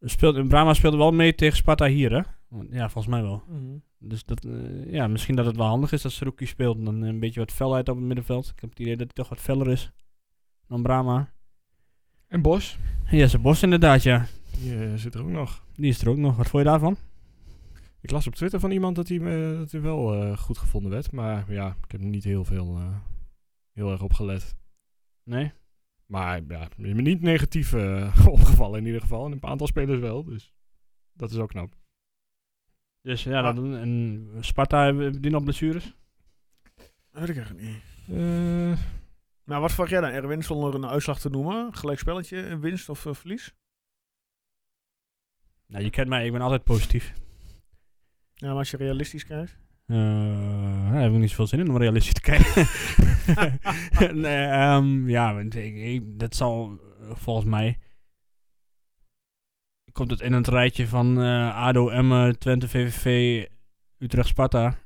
speelt, Brahma speelde wel mee tegen Sparta hier, hè. Want- Ja, volgens mij wel. Mhm. Dus dat, eh, ja, misschien dat het wel handig is dat Zerouki speelt. En Dan eh, een beetje wat felheid op het middenveld. Ik heb het idee dat hij toch wat feller is dan Brahma. En Bos, En Jesse Bos inderdaad, ja. die eh, zit er ook nog. Die is er ook nog. Wat vond je daarvan? Ik las op Twitter van iemand dat hij, eh, dat hij wel eh, goed gevonden werd. Maar ja, ik heb er niet heel veel eh, heel erg op gelet. Nee? Maar ja, is me niet negatief eh, opgevallen in ieder geval. En een aantal spelers wel, dus dat is ook knap. Dus ja, dat, en Sparta, hebben hebben die nog blessures? Dat weet ik eigenlijk niet. Eh, Nou, wat vraag jij dan, Erwin, zonder een uitslag te noemen? Gelijk spelletje, eh, winst of eh, verlies? Nou, je kent mij. Ik ben altijd positief. Ja, maar als je realistisch kijkt. Eh, daar heb ik niet zoveel zin in om realistisch te kijken. nee, ehm, ja, want ik, ik- dat zal eh, volgens mij. Komt het in het rijtje van eh, ADO, Emmen, Twente, VVV, Utrecht, Sparta.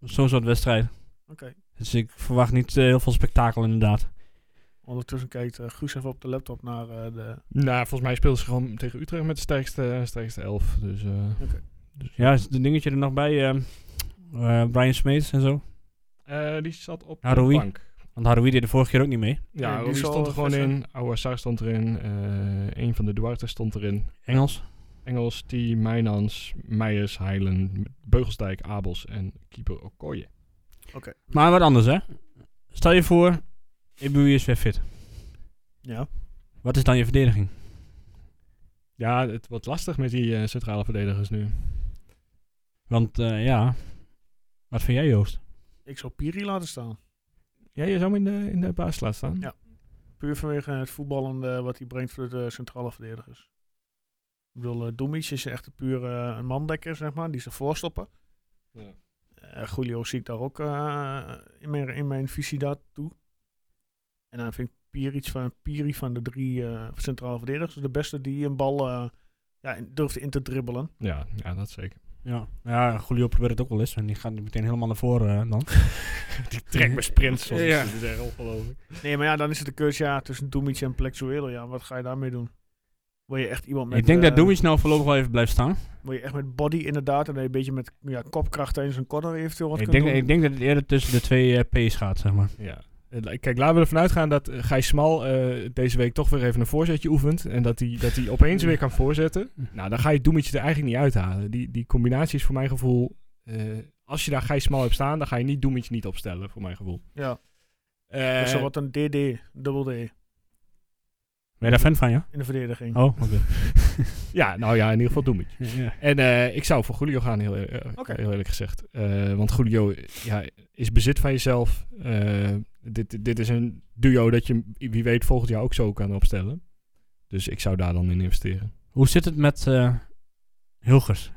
Zo'n soort wedstrijd. Oké. Dus ik verwacht niet eh, heel veel spektakel inderdaad. Ondertussen kijkt eh, Guus even op de laptop naar eh, de... nou, volgens mij speelden ze gewoon tegen Utrecht met de sterkste, sterkste elf. Dus, eh, Oké. dus- Ja, is het dingetje er nog bij? ehm, eh, Brian Smeets en zo. Eh, die zat op Ah, Rui. de bank. Want Haroui deed de vorige keer ook niet mee. Nee, Ja, die Rui zal stond er gewoon fit zijn. in. Ouassar stond erin. eh een van de Duarte stond erin. Engels. Engels, T, Mijnans, Meijers, Heilen, Beugelsdijk, Abels en keeper Okoye. Oké. Maar wat anders, hè? Stel je voor, Ibui is weer fit. Ja. Wat is dan je verdediging? Ja, het wordt lastig met die eh, centrale verdedigers nu. Want eh, ja, wat vind jij Joost? Ik zou Piri laten staan. Ja, je zou hem in de, in de baas laten staan. Ja. Puur vanwege het voetballende wat hij brengt voor de eh, centrale verdedigers. Ik bedoel, eh, Doemic is echt een pure eh, een mandekker, zeg maar, die ze voorstoppen. Ja. Eh, Julio zie ik daar ook eh, in, mijn, in mijn visie daartoe. En dan vind ik Piri van, Piri van de drie eh, centrale verdedigers de beste die een bal eh, ja, in- durft in te dribbelen. Ja, ja, dat zeker. Ja, nou ja Julio probeert het ook wel eens. En die gaat meteen helemaal naar voren eh, dan. die trekt me sprint soms. Ja. Dat is echt ongelooflijk. Nee, maar ja, dan is het de keuze ja, tussen Doemic en Plexuelo. Ja, wat ga je daarmee doen? Wil je echt iemand met... ik denk dat eh, Doemitsch nou voorlopig wel even blijft staan. Wil je echt met body inderdaad en dat je een beetje met ja, kopkracht tijdens een corner eventueel wat Ik kunt denk, doen. ik denk dat het eerder tussen de twee eh, P's gaat, zeg maar. Ja. Eh, la- Kijk, laten we ervan uitgaan dat eh, Gijs Smal eh, deze week toch weer even een voorzetje oefent. En dat hij dat hij opeens weer kan voorzetten. Nou, dan ga je Doemetje er eigenlijk niet uithalen. Die, die combinatie is voor mijn gevoel... eh, als je daar Gijs Smal hebt staan, dan ga je niet Doemetje niet opstellen, voor mijn gevoel. Ja, Eh, dat is wel wat een DD, dubbel D Ben je daar fan van, ja? in de verdediging. Oh, oké. Ja, nou ja, in ieder geval Doemetje. ja. En eh, ik zou voor Julio gaan, heel, eer- Oké. heel eerlijk gezegd. Eh, want Julio ja, is bezit van jezelf. Eh, dit, dit is een duo dat je, wie weet, volgend jaar ook zo kan opstellen. Dus ik zou daar dan in investeren. Hoe zit het met eh Hilgers?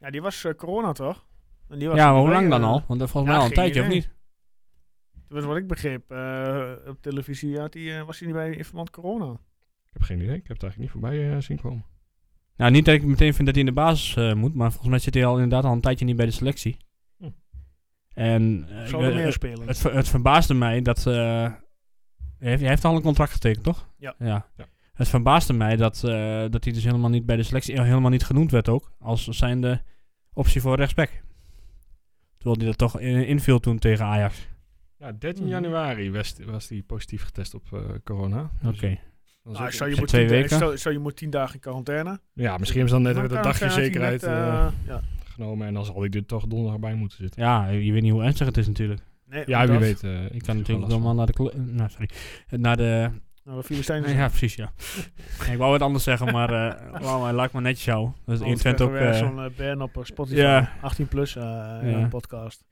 Ja, die was eh, corona toch? En die was Ja, er maar hoe bij, lang dan eh, al? Want eh, volgens ja, mij al een geen tijdje, of idee. niet? tenminste wat ik begreep eh, op televisie had die, eh, was hij niet bij in verband corona. Ik heb geen idee. Ik heb het eigenlijk niet voorbij eh, zien komen. Nou, niet dat ik meteen vind dat hij in de basis eh, moet. Maar volgens mij zit hij al inderdaad al een tijdje niet bij de selectie. Hm. En eh, Zou ik- er eh, meer spelen? Het, ver- het verbaasde mij dat. eh hij, heeft, hij heeft al een contract getekend, toch? Ja. ja. Ja. Het verbaasde mij dat, eh, dat hij dus helemaal niet bij de selectie helemaal niet genoemd werd ook. Als zijnde optie voor rechtsback. Terwijl hij dat toch in- inviel toen tegen Ajax. Ja, 13 Mhm. januari was, was die positief getest op eh, corona. Oké. Nou, stel, je Voor moet twee tien- eh, weken. stel- stel je moet tien dagen in quarantaine. Ja, misschien hebben ze dan net weer Dan een kan- dagje kan hij zekerheid net, eh, eh, ja. genomen. En dan zal ik er toch donderdag bij moeten zitten. Ja, je weet niet hoe ernstig het is natuurlijk. Nee, Ja, wie dat. weet. eh, Ik kan ik heb er wel natuurlijk last van. allemaal naar de... kle- eh, Nou, sorry. Eh, Naar de... Nou, de Filistijnen Ja, precies, ja. ik wou het anders zeggen, maar eh wauw, hij lijkt me netjes jou. Dat is in Twente ook... eh, zo'n eh, ban op eh, Spotify. ja. 18 plus eh, Ja. podcast.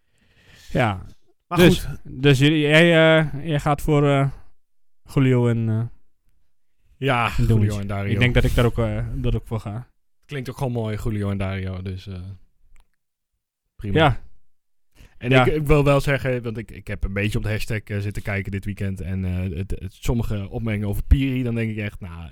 ja, Maar Dus- goed, dus jullie, jij, eh, jij gaat voor eh, Julio en... eh, Ja, Doen we Julio iets. en Dario. ik denk dat ik daar ook, eh, dat ook voor ga. Klinkt ook gewoon mooi, Julio en Dario. Dus eh, prima. Ja, En Ja. ik, ik wil wel zeggen, want ik, ik heb een beetje op de hashtag eh, zitten kijken dit weekend. En eh, het, het- sommige opmerkingen over Piri, dan denk ik echt, nou,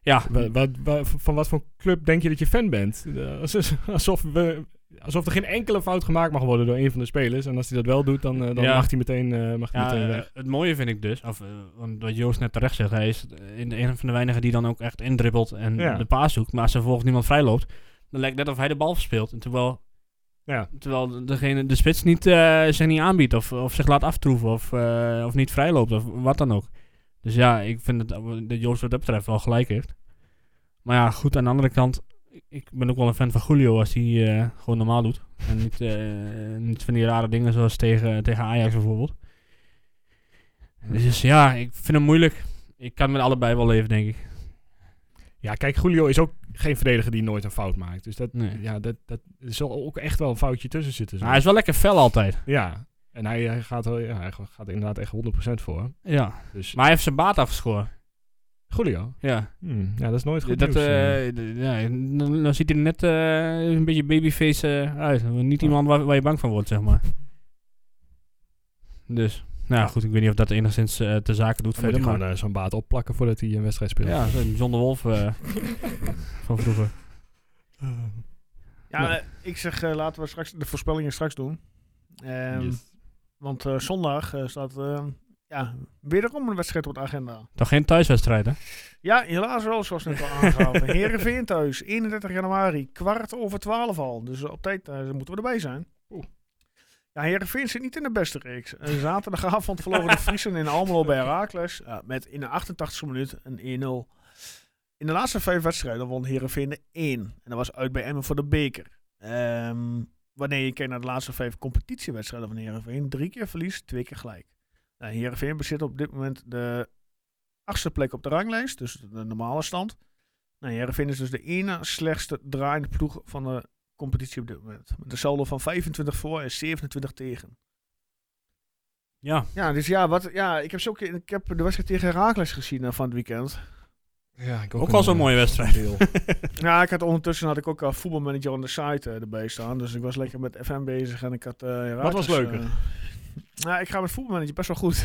ja. wa- wa- wa- van wat voor club denk je dat je fan bent? Eh, als- alsof, we, alsof er geen enkele fout gemaakt mag worden door een van de spelers. En als hij dat wel doet, dan, eh, dan Ja. mag hij meteen, eh, mag hij Ja, meteen eh, weg. het mooie vind ik dus, of eh, want wat Joost net terecht zegt, hij is in- een van de weinigen die dan ook echt indribbelt en Ja. de paas zoekt. Maar als er vervolgens niemand vrijloopt, dan lijkt net of hij de bal verspeelt. En terwijl, Ja. terwijl degene, de spits niet, eh, zich niet aanbiedt of, of zich laat aftroeven of, eh, of niet vrijloopt of wat dan ook. Dus ja, ik vind dat, dat Joost wat dat betreft wel gelijk heeft. Maar ja, goed, aan de andere kant, ik- ik ben ook wel een fan van Julio als hij eh, gewoon normaal doet. En niet, eh, niet van die rare dingen zoals tegen, tegen Ajax bijvoorbeeld. Dus ja, ik vind hem moeilijk. Ik kan met allebei wel leven, denk ik. Ja, kijk, Julio is ook geen verdediger die nooit een fout maakt. Dus dat, Nee. ja, dat, dat er zal ook echt wel een foutje tussen zitten. zo. Maar hij is wel lekker fel altijd. Ja, en hij, hij, gaat, wel- ja, hij gaat er inderdaad echt 100% voor. Ja. Dus Maar hij heeft zijn baat afgeschoren. Julio, Ja. hmm, ja, dat is nooit goed Dat, nieuws, eh. eh, d- ja, dan, dan ziet hij er net eh, een beetje babyface eh, uit. Niet iemand waar, waar je bang van wordt, zeg maar. Dus, nou ja, goed, ik weet niet of dat enigszins eh te zaken doet Dan moet verder. je Maar, gewoon eh, zo'n baat opplakken voordat hij een wedstrijd speelt. ja, zo'n John de Wolf eh, van vroeger. ja, Nou. eh, ik zeg eh, laten we straks de voorspellingen straks doen. Ehm, Want eh, zondag eh, staat eh, ja, wederom een wedstrijd op de agenda. Toch geen thuiswedstrijd, hè? Ja, helaas wel, zoals net al aangehaald. Herenveen thuis, 31 januari, kwart over 12 al. Dus op tijd eh, moeten we erbij zijn. Ja, Herenveen zit niet in de beste reeks. Eh, zaterdagavond verloren de Friesen in Almelo bij Herakles. eh, met in de 88e minuut een 1-0. In de laatste vijf wedstrijden won Herenveen de 1. En dat was uit bij Emmen voor de beker. Ehm, wanneer je kijkt naar de laatste vijf competitiewedstrijden van Herenveen, drie keer verlies, twee keer gelijk. Nou, Herenveen bezit op dit moment de achtste plek op de ranglijst, dus de normale stand. Nou, Herenveen is dus de ene slechtste draaiende ploeg van de competitie op dit moment. Met een saldo van 25 voor en 27 tegen. Ja. Ja, dus ja, wat, ja ik, heb zo, ik heb de wedstrijd tegen Herakles gezien eh, van het weekend. Ja, ik Ook een, wel zo'n eh, mooie wedstrijd. deel. Ja, ik had ondertussen had ik ook al voetbalmanager aan de site eh, erbij staan. Dus ik was lekker met FM bezig en ik had eh Herakles, was leuker? eh, nou, ik ga met voetbalmanager best wel goed.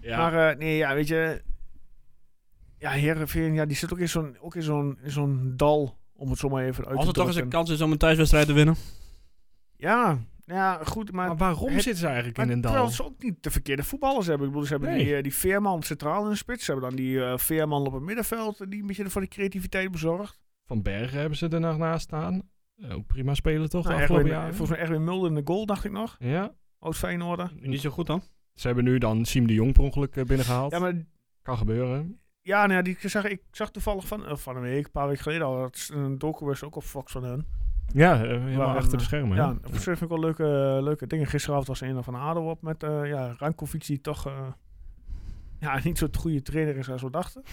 ja. Maar eh, nee, ja, weet je. Ja, Heerenveen, ja, die zit ook in zo'n ook in zo'n in zo'n dal, om het zo maar even uit Als te er toch eens een drukken. kans is om een thuiswedstrijd te winnen. Ja, ja, goed, maar... maar eh, waarom het- zitten ze eigenlijk in maar een dal? terwijl ze ook niet de verkeerde voetballers hebben. Ik bedoel, ze hebben Nee. die, eh, die Veerman centraal in de spits. Ze hebben dan die eh, Veerman op het middenveld, eh, die een beetje voor de creativiteit bezorgt. Van Bergen hebben ze er nog naast staan. Eh, Ook prima spelen toch, Nou, de Erwin, afgelopen eh, jaren? volgens mij Erwin Mulder in de goal, dacht ik nog. Ja. Oud Feyenoord. Niet zo goed dan. Ze hebben nu dan Siem de Jong per ongeluk eh, binnengehaald. Ja, maar Kan gebeuren. Ja, nou ja, die, ik, zag, ik zag toevallig van, eh, van een week, een paar weken geleden al, dat is een docu was ook op Fox van hun. Ja, eh, helemaal Waar, achter de eh, schermen. hè? Ja, op zich vind ik wel leuke, leuke dingen. Gisteravond was er een van ADO op met eh ja, Rankovic die toch eh, ja, niet zo'n goede trainer is als we dachten.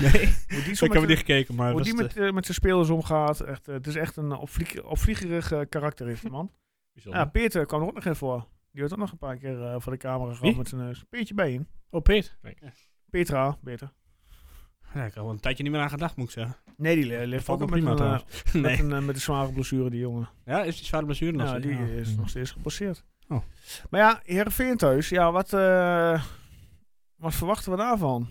nee, Hoe die, zo met, ik heb er niet gekeken, maar... hoe dat die is met, eh, met zijn spelers omgaat. Echt, eh, het is echt een eh, opvlieg, opvliegerig eh, karakter heeft die man. Bijzonder. ja, Peter kwam er ook nog in voor. Die werd ook nog een paar keer eh, voor de camera gehad Wie? met zijn neus. Peertje bij hem. Oh, Peet. Petra, beter. Ja, ik had al een tijdje niet meer aan gedacht, moet ik zeggen. Nee, die le- leeft Valt ook me met een, prima eh, trouwens. met, Nee. een, eh, met een zware blessure, die jongen. Ja, is die zware blessure nog? Ja, steeds? Nou, die Nou, eh, Ja. Mm. is nog steeds gepasseerd. Oh. Maar ja, Heerenveen thuis. Ja, wat, eh, wat verwachten we daarvan?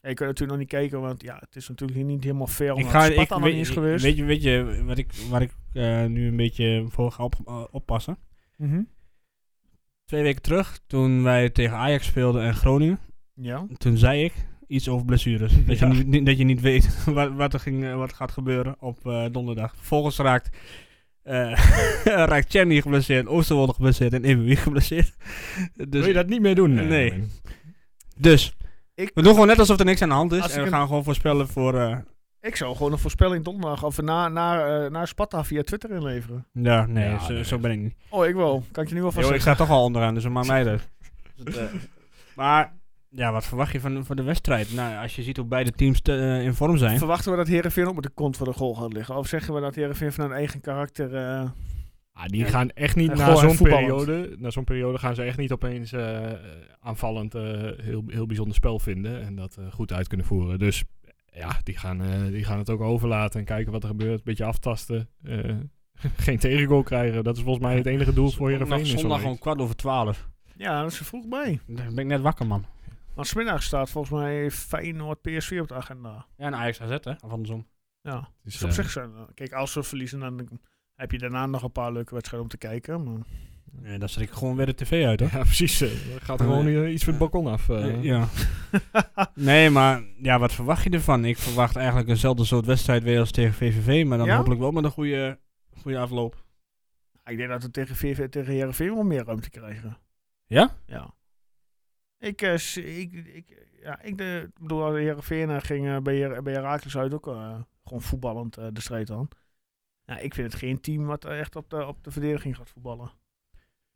Ja, je kunt natuurlijk nog niet kijken, want ja, het is natuurlijk hier niet helemaal fair. Ik omdat ga, ik, Sparta nog weet, niet is geweest. Weet je, weet je wat ik, waar ik eh, nu een beetje voor ga op, eh, oppassen? Mhm. Twee weken terug, toen wij tegen Ajax speelden en Groningen, Ja. Toen zei ik iets over blessures. Dat, je, niet- niet, dat je niet weet wat, wat, er ging, eh, wat gaat gebeuren op eh, donderdag. Vervolgens raakt, eh raakt Chenny geblesseerd, Oosterwolde geblesseerd en Ebuwie geblesseerd. Dus, Wil je dat niet meer doen? eh, Nee. Erwin? dus Ik- we doen gewoon net alsof er niks aan de hand is. Als En ik we een- gaan gewoon voorspellen voor... eh, Ik zou gewoon een voorspelling donderdag of na, na, eh, na Sparta via Twitter inleveren. ja, nee, Ja, zo, nee, zo ben ik niet. Oh, ik wel. Kan ik je nu al van Yo, ik zeggen. sta toch al onderaan, dus maakt mij dat. Dus het, eh, maar ja, wat verwacht je van, van de wedstrijd? Nou, als je ziet hoe beide teams te- eh, in vorm zijn. Verwachten we dat Herenveen ook met de kont voor de goal gaat liggen? Of zeggen we dat Herenveen vanuit eigen karakter. eh, Ah, die gaan echt niet En na eh, gewoon zo'n voetballend. periode. Na zo'n periode gaan ze echt niet opeens eh, aanvallend eh, heel, heel bijzonder spel vinden en dat eh, goed uit kunnen voeren. Dus ja, die gaan, eh, die gaan het ook overlaten en kijken wat er gebeurt. Een beetje aftasten. eh, geen tegengoal krijgen. Dat is volgens mij het enige doel voor Nog Heerenveen. in zo'n zondag week. om kwart over twaalf. ja, dat is er vroeg bij. Dan ben ik net wakker, man. Want smiddags staat volgens mij Feyenoord PSV op de agenda. Ja, en Ajax AZ, hè? Of andersom. Ja. Dus, Dus op eh, zich zijn. Kijk, als we verliezen, dan heb je daarna nog een paar leuke wedstrijden om te kijken. Maar... Nee, dan zet ik gewoon weer de tv uit, hoor. Ja, precies. eh, er gaat er gewoon eh, iets van het balkon af. eh. Eh, ja. nee, maar ja, wat verwacht je ervan? Ik verwacht eigenlijk eenzelfde soort wedstrijd weer als tegen VVV. Maar dan Ja? hopelijk wel met een goede, goede afloop. Ik denk dat we tegen, VV, tegen Heerenveen wel meer ruimte krijgen. Ja? Ja. Ik, eh, s- ik, ik, ja, ik eh, bedoel, als Heerenveen eh, ging eh, bij, Her- bij Herakles uit ook eh, gewoon voetballend eh, de strijd aan. Ja, ik vind het geen team wat eh, echt op de, op de verdediging gaat voetballen.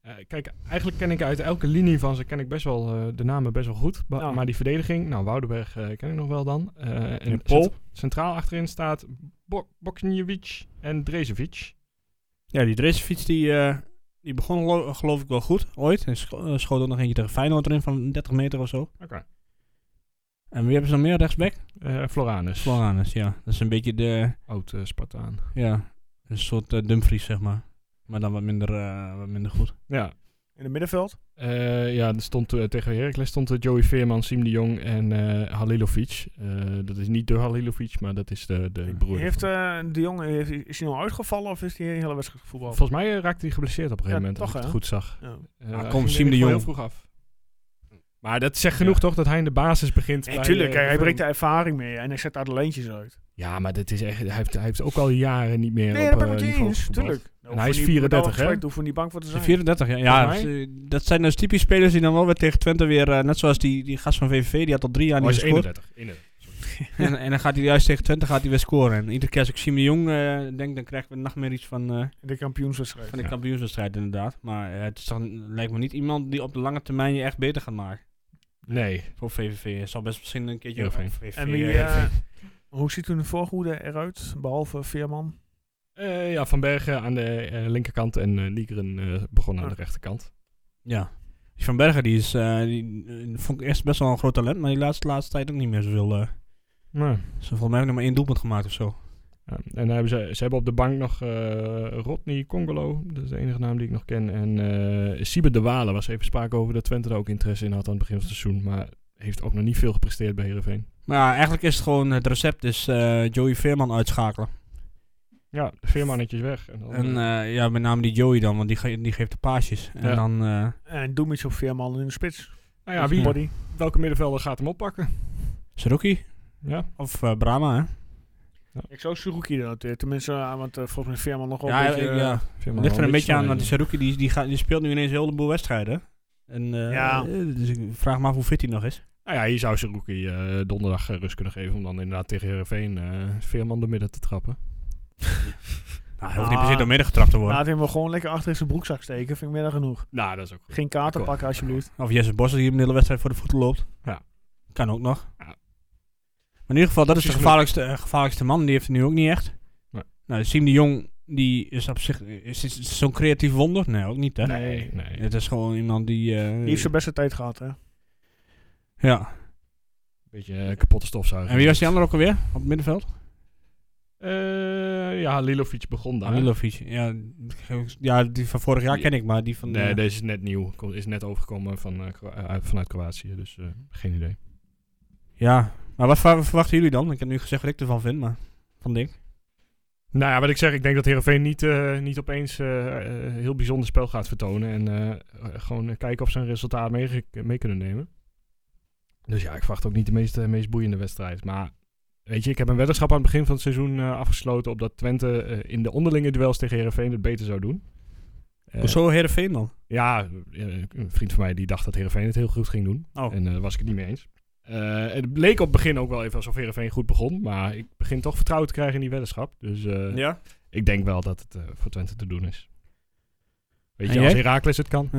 Eh, kijk, eigenlijk ken ik uit elke linie van ze ken ik best wel eh, de namen best wel goed. Ba- Ja. Maar die verdediging, nou Woudenberg eh, ken ik nog wel dan. Eh, en En Pol? cent- centraal achterin staat Bo Boksnjevic en Drezevic. Ja, die Dresefiets die, eh, die begon gelo- geloof ik wel goed ooit. En scho eh, schoot ook nog eentje tegen Feyenoord erin van 30 meter of zo. Oké. En wie hebben ze nog meer rechtsback? Eh, Floranus, Floranus, ja. Dat is een beetje de, oud eh, Spartaan. ja, een soort eh, Dumfries, zeg maar. Maar dan wat minder, eh, wat minder goed. Ja, In het middenveld? Eh, ja er stond, eh, tegen Heracles stond eh, Joey Veerman, Siem de Jong en eh, Halilovic. Eh, dat is niet de Halilovic, maar dat is de, de broer. Heeft ervan. eh, de jongen heeft, is hij nou uitgevallen of is hij een hele wedstrijd gevoetbald? Volgens mij eh, raakte hij geblesseerd op een gegeven Ja, moment, toch, als ik hè? het goed zag. Ja. Eh, Ah, hij kom, ging Siem de er Jong. heel vroeg af. Maar dat zegt genoeg toch, dat hij in de basis begint. Nee, bij, tuurlijk. eh, kijk, hij Heerenveen. brengt de ervaring mee en hij zet daar de lijntjes uit. Ja, maar dit is echt, hij, heeft, hij heeft ook al jaren niet meer Nee, op dat ben eh, ik met je niveau eens. gevoetbald. Tuurlijk. En hij is 34, hè? Hoef niet bang voor te zijn. 34, ja. ja Volgens ze- dat zijn dus typisch spelers die dan wel weer tegen Twente weer... eh, net zoals die, die gast van VVV, die had al drie jaar Oh, Hij niet is gescoord. 31. 31. En, en dan gaat hij juist tegen Twente gaat hij weer scoren. En iedere keer als ik Siem de Jong eh, denk, dan krijgen we nog meer iets van, eh, In de kampioenswedstrijd. van de Ja. kampioenswedstrijd inderdaad. Maar eh, het is toch, lijkt me niet iemand die op de lange termijn je echt beter gaat maken. Nee. Voor VVV. Het zal best misschien een keertje... Heerenveen. op VVV, En wie, eh, eh, hoe ziet toen de voorhoede eruit, behalve Veerman? Eh, ja, Van Bergen aan de eh, linkerkant en eh Liegeren eh, begon aan Ja. de rechterkant. Ja. Die Van Bergen die is, eh, die, eh, vond ik eerst best wel een groot talent, maar die laatste, laatste tijd ook niet meer zoveel. eh ze volgens mij hebben nog maar één doelpunt gemaakt of zo. Ja, en dan hebben ze, ze hebben op de bank nog eh, Rodney Congolo, dat is de enige naam die ik nog ken. En eh Siebe de Walen was even sprake over dat Twente daar ook interesse in had aan het begin van het seizoen. Maar heeft ook nog niet veel gepresteerd bij Heerenveen. Maar ja, eigenlijk is het gewoon, het recept is eh, Joey Veerman uitschakelen. Ja, de veermannetjes weg. En dan, En eh, ja, met name die Joey dan, want die, ge- die geeft de paasjes. En Ja. dan, eh, En doe iets op Veerman in de spits. nou ja, Met wie, Body. welke middenvelder gaat hem oppakken? Saruki Ja, of eh, Brahma, hè? Ik zou Suruki dan natuurlijk. Tenminste, ah, want eh, volgens mij is Veerman nog wel ja, een beetje... ik- eh, ja. Veerman ligt er wel een beetje aan, snel want die in. Saruki die, die, gaat, die speelt nu ineens een heleboel wedstrijden. En, eh, Ja. eh, Dus ik vraag me af hoe fit hij nog is. Nou ja, hier zou ze rookie donderdag eh, rust kunnen geven om dan inderdaad tegen Heerenveen eh, Veerman door midden te trappen. Nou, hij Ah. hoeft niet per se door midden getrapt te worden. Laat hem wel gewoon lekker achter in zijn broekzak steken. Vind ik meer dan genoeg. Nou, dat is ook goed. Geen kaarten Akkoord. pakken alsjeblieft. Of Jesse Bos die hem de hele wedstrijd voor de voeten loopt. Ja. Kan ook nog. Ja. Maar in ieder geval, dat is de Precies gevaarlijkste, eh, gevaarlijkste man. Die heeft het nu ook niet echt. Nee. Nou, Siem de Jong, die is op zich... Is, is- is zo'n creatief wonder? Nee, ook niet, hè? Nee, nee. Het is gewoon iemand die... eh, Die heeft zijn beste tijd gehad, hè? ja. Beetje eh, kapotte stofzuiger. En wie was die ander ook alweer? Op het middenveld? Eh, ja, Lilovic begon daar. Halilovic. Ja, ja, die van vorig jaar ken ik, maar die van... Nee, eh, deze is net nieuw. Kom- Is net overgekomen van, eh, Kro- eh, vanuit Kroatië. Dus eh, geen idee. Ja. Maar wat ver- verwachten jullie dan? Ik heb nu gezegd wat ik ervan vind, maar... Van Dink. Nou ja, wat ik zeg. Ik denk dat Heerenveen niet, eh, niet opeens eh, eh, heel bijzonder spel gaat vertonen. En eh, eh, gewoon eh, kijken of ze een resultaat mee, mee kunnen nemen. Dus ja, ik verwacht ook niet de meest, eh, meest boeiende wedstrijd. Maar weet je, ik heb een weddenschap aan het begin van het seizoen eh, afgesloten... op dat Twente eh, in de onderlinge duels tegen Herenveen het beter zou doen. Eh, Hoezo Heerenveen dan? Ja, eh, een vriend van mij die dacht dat Herenveen het heel goed ging doen. Oh. En eh, daar was ik het niet mee eens. Eh, het leek op het begin ook wel even alsof Herenveen goed begon. Maar ik begin toch vertrouwen te krijgen in die weddenschap. Dus eh, Ja. ik denk wel dat het eh, voor Twente te doen is. Weet En je, als jij? Herakles het kan.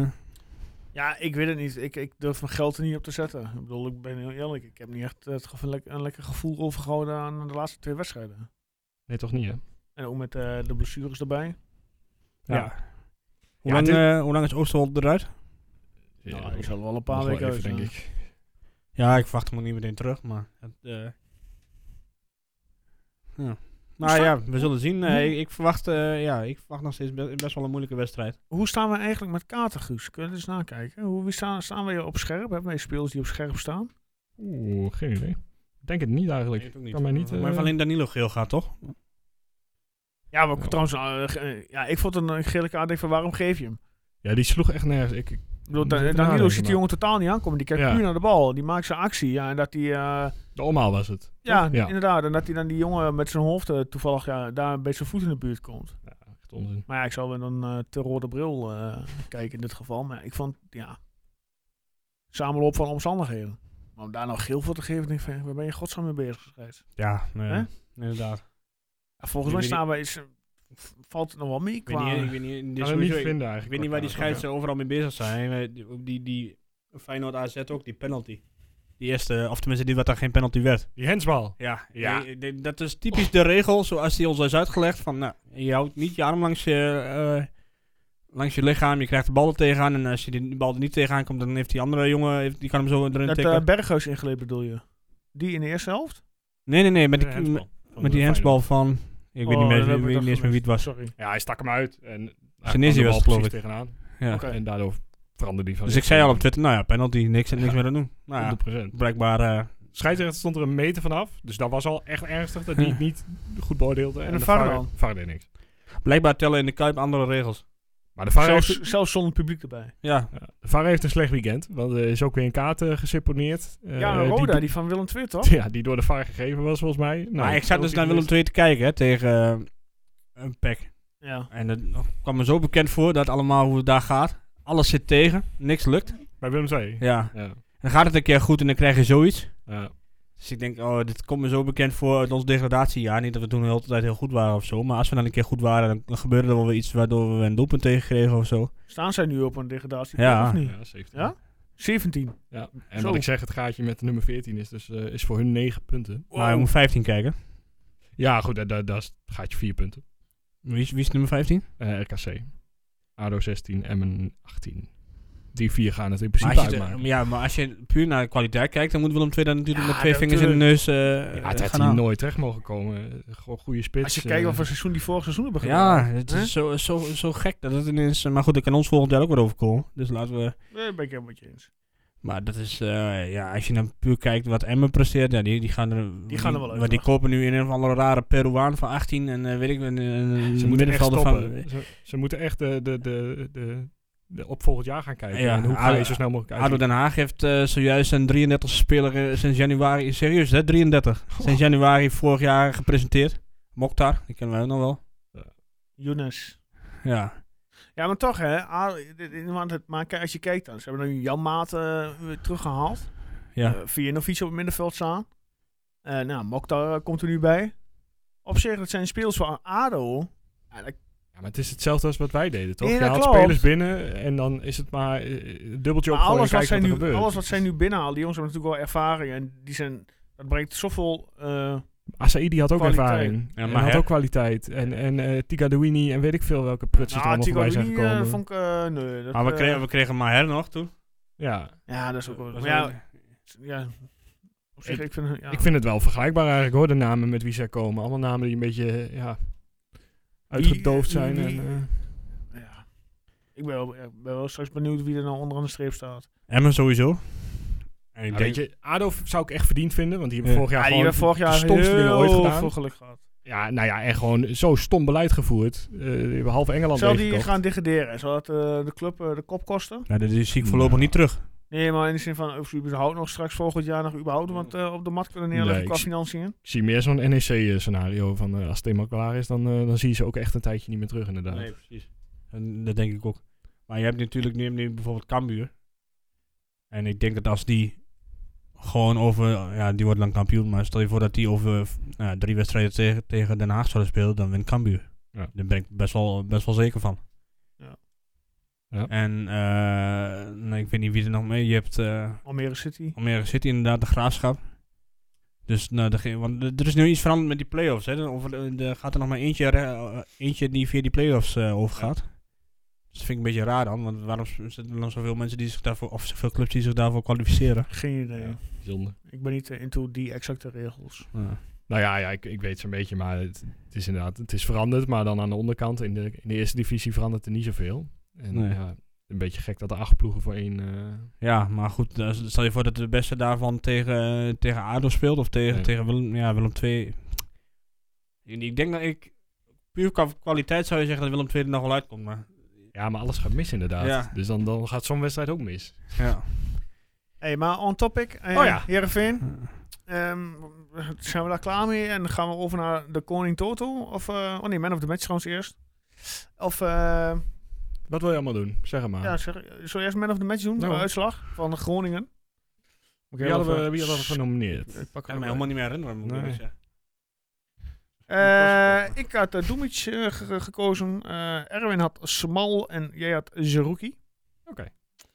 Ja, ik weet het niet. Ik, ik durf mijn geld er niet op te zetten. Ik bedoel, ik ben heel eerlijk. Ik heb niet echt eh, het gevo- le- een lekker gevoel overgehouden aan de laatste twee wedstrijden. Nee, toch niet, hè? En ook met eh, de blessures erbij. Ja. Hoe, Ja, lang, het is- eh, hoe lang is Oosterwold eruit? Ja, nou, ik nog zal wel een wel paar weken even, uit. denk eh. ik. Ja, ik verwacht hem ook niet meteen terug, maar... Het, eh, ja. Nou ja, we zullen zien. Nee, ik, ik verwacht, eh, ja, ik verwacht nog steeds be- best wel een moeilijke wedstrijd. Hoe staan we eigenlijk met kaarten, Guus? Kunnen we eens nakijken? Hoe wie staan, staan we hier op scherp? Hebben wij spelers die op scherp staan? Oeh, geen idee. Ik denk het niet eigenlijk. ook niet. kan mij niet, maar eh, alleen Danilo geel gaat, toch? Ja, maar Ja. trouwens, eh, ge- eh, ja, ik vond een eh, gele kaart. Ik denk van, waarom geef je hem? Ja, die sloeg echt nergens. Ik, ik- Ik bedoel, Moet Dan- even Danilo nadenken, ziet die maar- jongen totaal niet aankomen. Die kijkt Ja. puur naar de bal. Die maakt zijn actie. Ja, en dat die... eh, de omhaal was het. Ja, Ja. inderdaad. En dat hij dan die jongen met zijn hoofd eh, toevallig ja, daar bij zijn voet in de buurt komt. Echt onzin. Maar ja, ik zal wel een eh, te rode bril eh, kijken in dit geval. Maar ik vond, ja, samenloop van omstandigheden. Maar om daar nou geel voor te geven, denk ik van, waar ben je in godsnaam mee bezig? scheids? Ja, nee, Hè? inderdaad. Ja, volgens Ik mij weet staan wij, is, valt het nog wel mee Ik weet niet, ik qua... weet niet, dit Ik kan is het niet sowieso- vinden eigenlijk. ik weet niet waar die scheidsrechter overal mee bezig zijn. Eh, die- Ook die, die Feyenoord AZ ook, die penalty. Die eerste, of tenminste die wat daar geen penalty werd. Die hensbal. Ja, Ja. die- die- dat is typisch de regel zoals die ons is uitgelegd. Van, nou, je houdt niet je arm langs je, eh, langs je lichaam, je krijgt de bal er tegenaan. En als je die bal er niet tegenaan komt, dan heeft die andere jongen, heeft- die kan hem zo erin Dat tikken. eh Berghuis ingeleid bedoel je? Die in de eerste helft? nee, nee, nee, met, De die, hensbal met, van met de die handsbal Feyenoord. van... Ik weet Oh, niet, meer, dat heb ik ik weet toch niet eens meer wie het was. Sorry. Ja, hij stak hem uit. En hij kwam Senesi de bal was het, geloof precies tegenaan. Ja. Oké. En daardoor veranderde die van Dus ik zich. zei al op Twitter, nou ja, penalty, niks, niks Ja. meer aan doen. Nou ja, 100%. blijkbaar... eh, Scheidsrechter stond er een meter vanaf. Dus dat was al echt ernstig dat hij het niet goed beoordeelde. En, de de VAR VAR dan? VAR deed niks. Blijkbaar tellen in de Kuip andere regels. Maar de VAR, heeft, Zelfs, zelfs zonder publiek erbij. Ja, ja, de VAR heeft een slecht weekend. Want er is ook weer een kaart eh, geseponeerd. Eh, ja, Roda, die, die, van Willem II toch? ja, die door de VAR gegeven was volgens mij. Nou, maar ik zat dus ook naar niet Willem II te kijken hè, tegen eh, een pek. Ja. En dat kwam me zo bekend voor dat allemaal hoe het daar gaat. Alles zit tegen, niks lukt. Bij Willem II. Ja. Ja. En dan gaat het een keer goed en dan krijg je zoiets. Ja. Dus ik denk, oh, dit komt me zo bekend voor uit ons degradatiejaar. Niet dat we toen de hele tijd heel goed waren of zo. Maar als we dan een keer goed waren, dan- dan gebeurde er wel weer iets waardoor we een doelpunt tegenkregen of zo. Staan zij nu op een degradatie? Ja. Of niet? Ja, 17. Hm. Ja? 17. Ja. En Zo. wat ik zeg, het gaatje met de nummer 14 is, dus, eh, is voor hun 9 punten. Maar je moet 15 kijken. Ja, goed, dat, dat, dat is het gaatje 4 punten. Wie is, wie is nummer 15? Eh, RKC. ADO 16, Emmen 18. Die vier gaan het in principe Maar als, je uitmaken. ja, maar als je puur naar de kwaliteit kijkt, dan moet Willem II daar natuurlijk Ja, met twee vingers in de neus eh ja, het had gaan hier halen. nooit terecht mogen komen. Eh, Gewoon goede spits. Als je eh, kijkt wat voor seizoen die vorig seizoen hebben Ja, gedaan. het Hè? is zo, zo, zo gek dat het ineens... Maar goed, ik kan ons volgend jaar ook weer overkomen. Dus laten we... Nee, eh, ben ik helemaal met je eens. Maar dat is, eh, ja, als je dan puur kijkt wat Emmen presteert, ja, die, die gaan er, Die gaan er wel uit, Want die toch? kopen nu in een of andere rare Peruaan van 18 en eh, weet ik, een, een, een ze moeten echt middenvelder van. stoppen. Ze, ze moeten echt de, de, de, de, de op volgend jaar gaan kijken. Ja, en hoe ga je ADO zo snel mogelijk ADO uit? Den Haag heeft eh, zojuist een 33 speler eh, sinds januari, serieus hè, 33, sinds januari vorig jaar gepresenteerd. Mokhtar, die kennen wij ook nog wel. Younes. Ja, Ja, maar toch hè. A- dit- dit- Want het, maar kijk, als je kijkt dan. Ze hebben nu Jan Maat eh, weer teruggehaald. ja. Eh, Vijanovic op het middenveld staan. Eh nou, Mokhtar eh, komt er nu bij. Op zich, dat zijn speels van ADO. Ja, dat- Ja, maar het is hetzelfde als wat wij deden, toch? Ja, je dat haalt klopt. spelers binnen en dan is het maar eh, een dubbeltje maar op voor en alles, wat kijken zij wat er nu, gebeurt. alles wat zij nu binnenhalen. Die jongens hebben natuurlijk wel ervaring. En die zijn... Dat brengt zoveel... eh, Asaidi had ook Kwaliteit. ervaring. Ja, en maar had hè? ook kwaliteit. En, en eh Tigadouini en weet ik veel welke prutsen er nou, allemaal Tico voorbij zijn Lini, eh, gekomen. vond ik... eh, nee, dat, Maar we eh, kregen, we kregen Maher nog toen. ja. Ja, dat is ook wel... Was maar ja, ook- ja, op zich, ik, vind... Ja. ik vind het wel vergelijkbaar eigenlijk hoor, de namen met wie zij komen. Allemaal namen die een beetje eh, ja, uitgedoofd Wie- zijn. wie- en, eh, Ja. Ik ben wel, ik ben wel straks benieuwd wie er nou onderaan de streep staat. Emmen sowieso. En ik ja, denk, weet je, ADO v- zou ik echt verdiend vinden, want die hebben Ja. vorig Ja, jaar Ah, die gewoon hebben vorig jaar de stomste dingen ooit heel gedaan. veel geluk gehad. Ja, nou ja, en gewoon zo stom beleid gevoerd. Eh, die hebben half Engeland Zal die leeggekocht. gaan degraderen? Zal dat eh, de club eh, de kop kosten? nou, dat zie ik voorlopig Nou. niet terug. Nee, maar in de zin van of ze überhaupt nog straks volgend jaar nog überhaupt wat eh, op de mat kunnen neerleggen Nee, qua ik- financiën. Ik zie meer zo'n NEC-scenario van eh, als het eenmaal klaar is, dan, eh, dan zie je ze ook echt een tijdje niet meer terug inderdaad. Nee, precies. En dat denk ik ook. Maar je hebt natuurlijk nu, je hebt nu bijvoorbeeld Cambuur. En ik denk dat als die gewoon over... Ja, die wordt lang kampioen. Maar stel je voor dat die over nou ja, drie wedstrijden tegen, tegen Den Haag zouden spelen. Dan wint Cambuur. Ja. Daar ben ik best wel, best wel zeker van. Ja. Ja. En eh, nou, ik weet niet wie er nog mee... Je hebt eh Almere City. Almere City inderdaad, de Graafschap. Dus nou, degene- want er er is nu iets veranderd met die play-offs. Hè? Of, er er gaat er nog maar eentje, re- eh, eentje die via die play-offs eh, overgaat. Dus dat vind ik een beetje raar dan. Want waarom s- zitten er dan zoveel mensen die zich daarvoor, of zoveel clubs die zich daarvoor kwalificeren? Geen idee. Ja. Zonde. Ik ben niet eh, into die exacte regels. Ja. Nou ja, ja ik, ik weet zo'n beetje, maar het, het is inderdaad, het is veranderd. Maar dan aan de onderkant, in de, in de eerste divisie verandert er niet zoveel. En Nee. ja, een beetje gek dat er acht ploegen voor één... eh, ja, maar goed. eh, stel je voor dat de beste daarvan tegen, eh, tegen ADO speelt. Of tegen, Ja. tegen Willem, ja, Willem II. Ik ik denk dat ik... Puur qua kwaliteit zou je zeggen dat Willem II er nog wel uitkomt. Maar ja, maar alles gaat mis inderdaad. Ja. Dus dan, dan gaat zo'n wedstrijd ook mis. ja. hey, maar on topic. eh, Oh ja. Heerenveen. Ehm, zijn we daar klaar mee en dan gaan we over naar de Koning Toto? Of, eh, oh nee, Man of the Match trouwens eerst. Of, eh, Ah. Wat wil je allemaal doen? Zeg het maar. ja, zeg, zullen we eerst Man of the Match doen? Nou. De uitslag van Groningen. Oké, wie hadden we, wie hadden we eh, genomineerd? Ik pak kan hem erbij. me helemaal niet meer herinneren, moet ik Nee. eerlijk zeggen. Eh, ik had uh, Dumic eh, ge- ge- gekozen. Eh, Erwin had Smal en jij had Zerouki.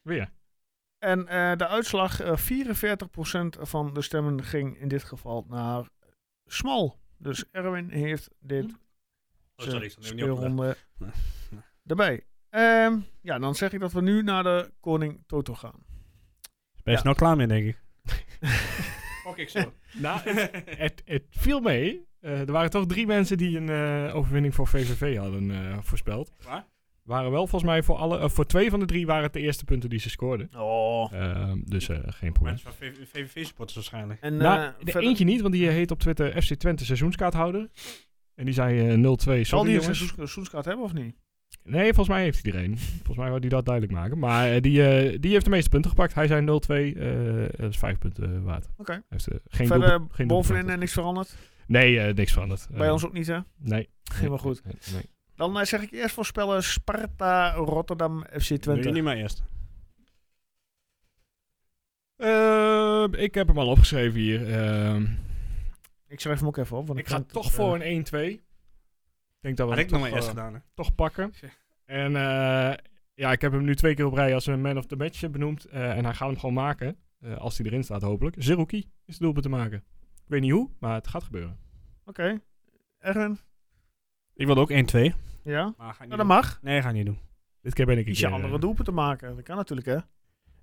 Weer. En eh, de uitslag, eh, 44% van de stemmen ging in dit geval naar Smal. Dus Erwin heeft dit eh, Oh, sorry, ik stond even niet opgelet. speelronde Nee. erbij. Ehm, ja, dan zeg ik dat we nu naar de Koning Toto gaan. Ben je Ja. snel klaar mee, denk ik. ik zo. Nou, het, het, het viel mee. Eh, er waren toch drie mensen die een eh, overwinning voor VVV hadden eh, voorspeld. Waar? Waren wel volgens mij voor alle... eh, voor twee van de drie waren het de eerste punten die ze scoorden. Oh. Ehm, dus eh, geen probleem. Mensen van VVV-supporters waarschijnlijk. En Nou, eh, de verder- eentje niet, want die heet op Twitter FC Twente seizoenskaarthouder. En die zei eh, 0-2. Sorry, zal die een jongens. seizoens- seizoenskaart hebben of niet? Nee, volgens mij heeft iedereen. volgens mij wou die dat duidelijk maken. Maar eh, die, eh, die heeft de meeste punten gepakt. Hij zei 0-2. eh, dat is vijf punten waard. Hij Oké. heeft eh, geen Verder doelpunt- geen bovenin doelpunt. en niks veranderd. Nee, eh, niks veranderd. Bij Eh, ons ook niet, hè? Nee. Helemaal goed. Nee, nee. Dan eh, zeg ik eerst voorspellen Sparta, Rotterdam, FC Wil je Twente. niet maar eerst? Eh, ik heb hem al opgeschreven hier. Ehm, eh, Ik schrijf hem ook even op. Want ik ga kan- toch voor een 1-2. Ik denk dat we Had ik hem nog toch, maar eerst eh, gedaan. hè. toch pakken. Tja. En eh, ja, ik heb hem nu twee keer op rij als een man of the match eh, benoemd. Eh, en hij gaat hem gewoon maken. eh, als hij erin staat, hopelijk. Zerouki is het doelpunt te maken. Ik weet niet hoe, maar het gaat gebeuren. Oké. Erwin? Ik wilde ook 1-2. Ja? Maar ga ik Nou, niet dat doen. mag. Nee, ga ik niet doen. Dit keer ben ik een Kies je keer, andere eh, doelpunten maken. Dat kan natuurlijk, hè?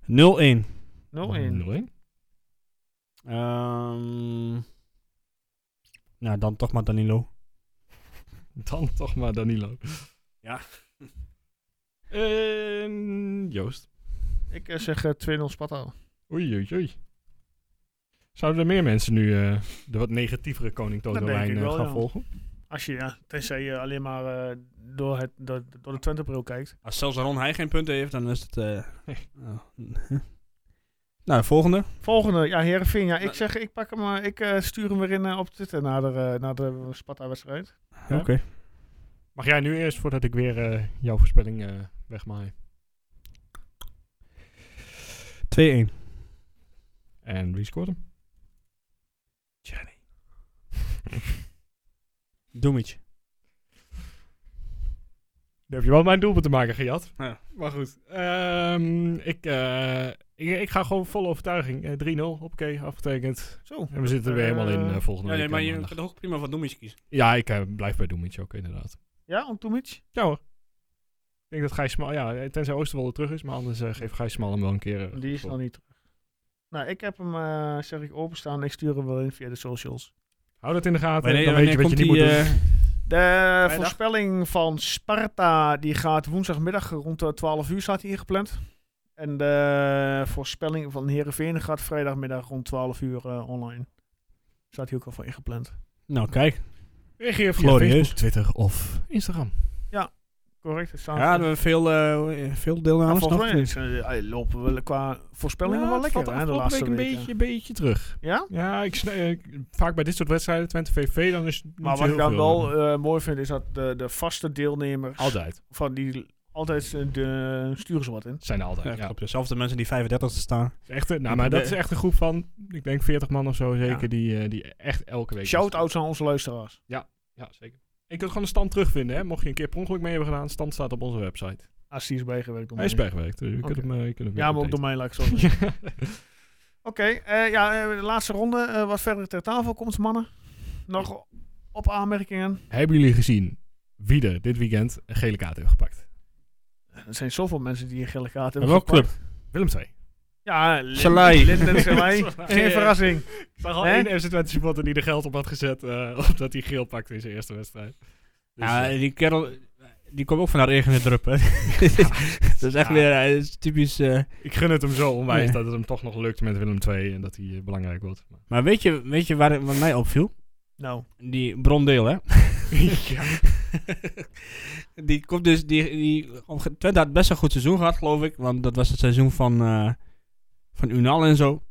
0-1. 0-1. 0-1. Ehm, nou, dan toch maar Danilo. Dan toch maar Danilo. Ja. En Ehm, Joost. Ik eh, zeg eh, 2-0 Sparta. Oei, oei, oei. Zouden er meer mensen nu eh, de wat negatievere Koning Toto Dat denk lijn ik eh, wel, gaan ja. volgen? Als je, ja, tenzij je alleen maar eh, door, het, door, door de Twente-bril kijkt. Als zelfs Ron hij geen punten heeft, dan is het... eh, Nee. oh. nou, volgende. Volgende, ja, Heerenveen. Ja, ik Nou- zeg, ik pak hem, eh, ik eh, stuur hem weer in eh, op Twitter naar de, eh, naar de Sparta-wedstrijd. Oké. Mag jij nu eerst voordat ik weer eh, jouw voorspelling eh, wegmaai? 2-1. En wie scoort hem? Gianni. Doemic. Nu heb je wel mijn doelpunt te maken gejat. Ja. Maar goed. Ehm, ik, eh, ik, ik ga gewoon vol overtuiging. Eh, 3-0, hoppakee, afgetekend. Zo. En we zitten er weer helemaal in eh, Eh, volgende Ja, nee, week. maar eh, je maandag. kan toch ook prima van Doemic kiezen. Ja, ik eh, blijf bij Doemitje ook inderdaad. Ja, Antumic? Ja hoor. Ik denk dat Gijs Smal... Ja, eh, tenzij Oosterwolde terug is. Maar anders eh, geeft Gijs Smal hem wel een keer... eh, Die is voor. nog niet terug. Nou, ik heb hem, eh, zeg ik, openstaan. Ik stuur hem wel in via de socials. Hou dat in de gaten. Wanneer- dan weet je wanneer wat je niet komt moet die, doen. eh, De voorspelling van Sparta die gaat woensdagmiddag rond de 12 uur staat hij ingepland. En de voorspelling van Herenveen gaat vrijdagmiddag rond 12 uur eh, online. Staat hij ook al voor ingepland. Nou, kijk. Reageer via Glorieus. Facebook, Twitter of Instagram. correct? Het staat Nou, Ja, hadden we veel, eh, veel deelnames nog? volgens of mij niet? is, eh, lopen we qua voorspellingen Ja, wel Nou, het lekker valt hè, de afgelopen laatste week een weken. beetje, beetje terug. Ja? Ja, ik, sn- eh, ik- vaak bij dit soort wedstrijden, Twente VV, dan is het niet Maar zo wat ik heel dan veel. wel eh, mooi vind, is dat de, de vaste deelnemers Altijd. van die altijd eh, de, sturen ze wat in. Het zijn er altijd, Ja, ja. klopt. Dezelfde mensen die 35 te staan. Echt, eh, nou, maar dat is echt een groep van, ik denk 40 man of zo zeker, Ja. die, eh, die echt elke week... Shout-outs aan onze luisteraars. Ja, zeker. Ik kan gewoon een stand terugvinden, hè. Mocht je een keer per ongeluk mee hebben gedaan, stand staat op onze website. Als die is bijgewerkt. door Hij is mij. bijgewerkt, dus je Oké. kunt hem, eh, je kunt hem Ja, weer maar ook door updaten. mij, laat ik het zo zeggen. Oké, eh, ja, eh, de laatste ronde. eh, wat verder ter tafel komt, mannen. Nog op aanmerkingen. Hebben jullie gezien wie er dit weekend een gele kaart heeft gepakt? Er zijn zoveel mensen die een gele kaart hebben. Welke gepakt. club? Willem II. Ja, Lin- Salai. Linden Salai. Geen Ja. verrassing. Ik zag al Hè? één FC Twente supporter die er geld op had gezet eh, omdat hij geel pakte in zijn eerste wedstrijd. Dus, Ja, eh, die kerel, die komt ook van haar eigen drup, hè. dat is echt Ja. weer eh, is typisch... eh, ik gun het hem zo onwijs Nee. dat het hem toch nog lukt met Willem II en dat hij eh, belangrijk wordt. Maar- Maar weet je, weet je waar, wat mij opviel? Nou, Die brondeel, hè? die komt dus... Die, die, Twente had best een goed seizoen gehad, geloof ik. Want dat was het seizoen van, eh, van Unal en zo.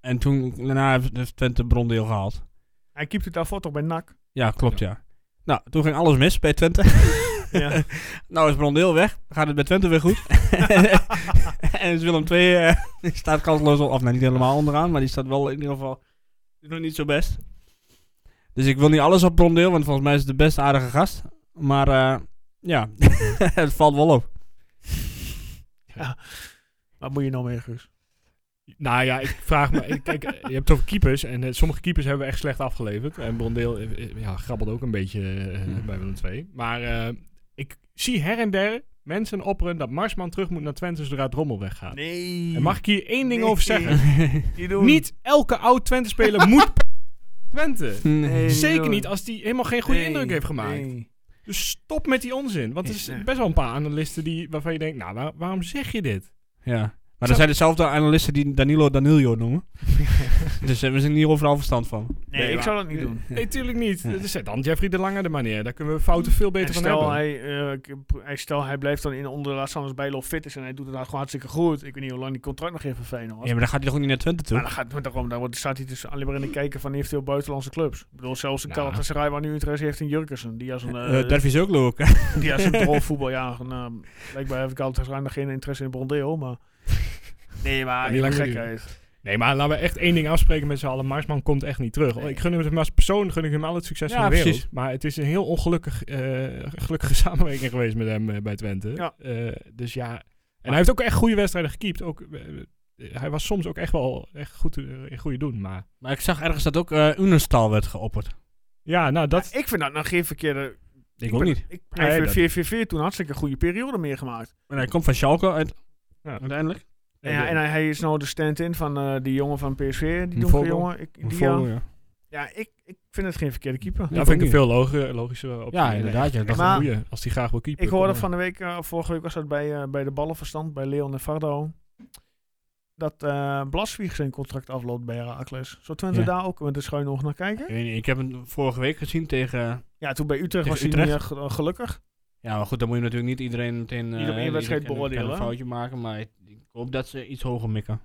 En toen, daarna heeft- heeft Twente brondeel gehaald. hij keept het daarvoor toch bij NAC. Ja, klopt, ja. Nou, toen ging alles mis bij Twente. Ja. nou is Brondeel weg. Gaat het bij Twente weer goed. en is Willem II eh, die staat kansloos op. Of nou, niet helemaal onderaan. Maar die staat wel in ieder geval nog niet zo best. Dus ik wil niet alles op Brondeel. Want volgens mij is het de best aardige gast. Maar eh, ja, het valt wel op. Wat moet je nou meer, Guus? Nou ja, ik vraag me. ik- Kijk, eh, je hebt het over keepers. En eh, sommige keepers hebben we echt slecht afgeleverd. En Brondeel eh, eh, ja, grabbelde ook een beetje eh, Hmm. bij Willem II. Maar eh, ik zie her en der mensen opperen dat Marsman terug moet naar Twente zodra Drommel weggaat. Nee. En mag ik hier één ding Nee. over zeggen? Niet elke oud Twente-speler moet Twente. Nee, Zeker doen. niet als die helemaal geen goede Nee, indruk heeft gemaakt. nee. Dus stop met die onzin. Want er Nee, zijn nee. best wel een paar analisten die, waarvan je denkt, nou, waar- waarom zeg je dit? Ja. Maar Zou- dat zijn dezelfde analisten die Danilo Danilo noemen. dus hebben ze niet overal verstand van. Nee, Nee, ik maar- zou dat niet doen. Nee, Mm. tuurlijk niet. Dat is eh, dan Jeffrey de Lange de manier. Daar kunnen we fouten veel beter En van stel hebben. hij, eh, k- p- hij, stel, hij blijft dan in onderlaat anders bij Lof fit is en hij doet het nou gewoon hartstikke goed. Ik weet niet hoe lang die contract nog even voor Feyenoord. Ja, maar dan gaat hij toch ook niet naar Twente toe? maar dan, gaat, maar daarom, dan wordt- staat hij dus alleen maar in de kijken van heeft hij buitenlandse clubs. Ik bedoel, zelfs de Nou. Galatasaray waar nu interesse heeft in Jurgensen. Die als een, Eh eh Dervis ook leuk. die als een droogvoetbal. Ja, nou, blijkbaar heeft Galatasaray nog geen interesse in Brondeo, maar... Nee, maar Ja, die die lang- gekheid. Nee, maar laten we echt één ding afspreken met z'n allen. Marsman komt echt niet terug. Ik gun hem als persoon gun ik hem al het succes Ja, van de wereld. precies. Maar het is een heel ongelukkig eh, gelukkige samenwerking geweest met hem eh, bij Twente. Ja. Eh, dus ja. En hij heeft ook echt goede wedstrijden gekiept. Ook, eh, eh, hij was soms ook echt wel echt goed eh, in goede doen. Maar Maar ik zag ergens dat ook eh Unestal werd geopperd. ja, nou dat... Ja, ik vind dat nou geen verkeerde... Ik ook ben- niet. Ik, Nee, hij heeft dat- bij VVV toen hartstikke goede periode meegemaakt. En hij komt van Schalke uit, Ja. uiteindelijk. En, ja, en hij, hij is nou de stand-in van eh, die jongen van PSV. Die donkere Vogel. jongen. Ik, die, ja. Volgende, ja. Ja, ik, ik vind het geen verkeerde keeper. dat vind ik een veel logische, logische optie. Ja, inderdaad. Ja, Echt dat Maar- een goeie, als hij graag wil keeper. Ik hoorde kom van de week, eh, vorige week was dat bij, eh, bij de ballenverstand, bij Leon en Fardo. Dat eh Blaswieg zijn contract afloopt bij Heracles. Zou Twente Ja. daar ook met de schuine oog naar kijken? ik, weet niet, ik heb hem vorige week gezien tegen... Ja, toen bij Utrecht Tegen was hij niet Utrecht? eh, ge- eh, gelukkig. Ja, maar goed, dan moet je natuurlijk niet iedereen meteen... eh, Iedereen een wedstrijd kan- kan beoordelen. een foutje maken, maar ik, ik hoop dat ze iets hoger mikken.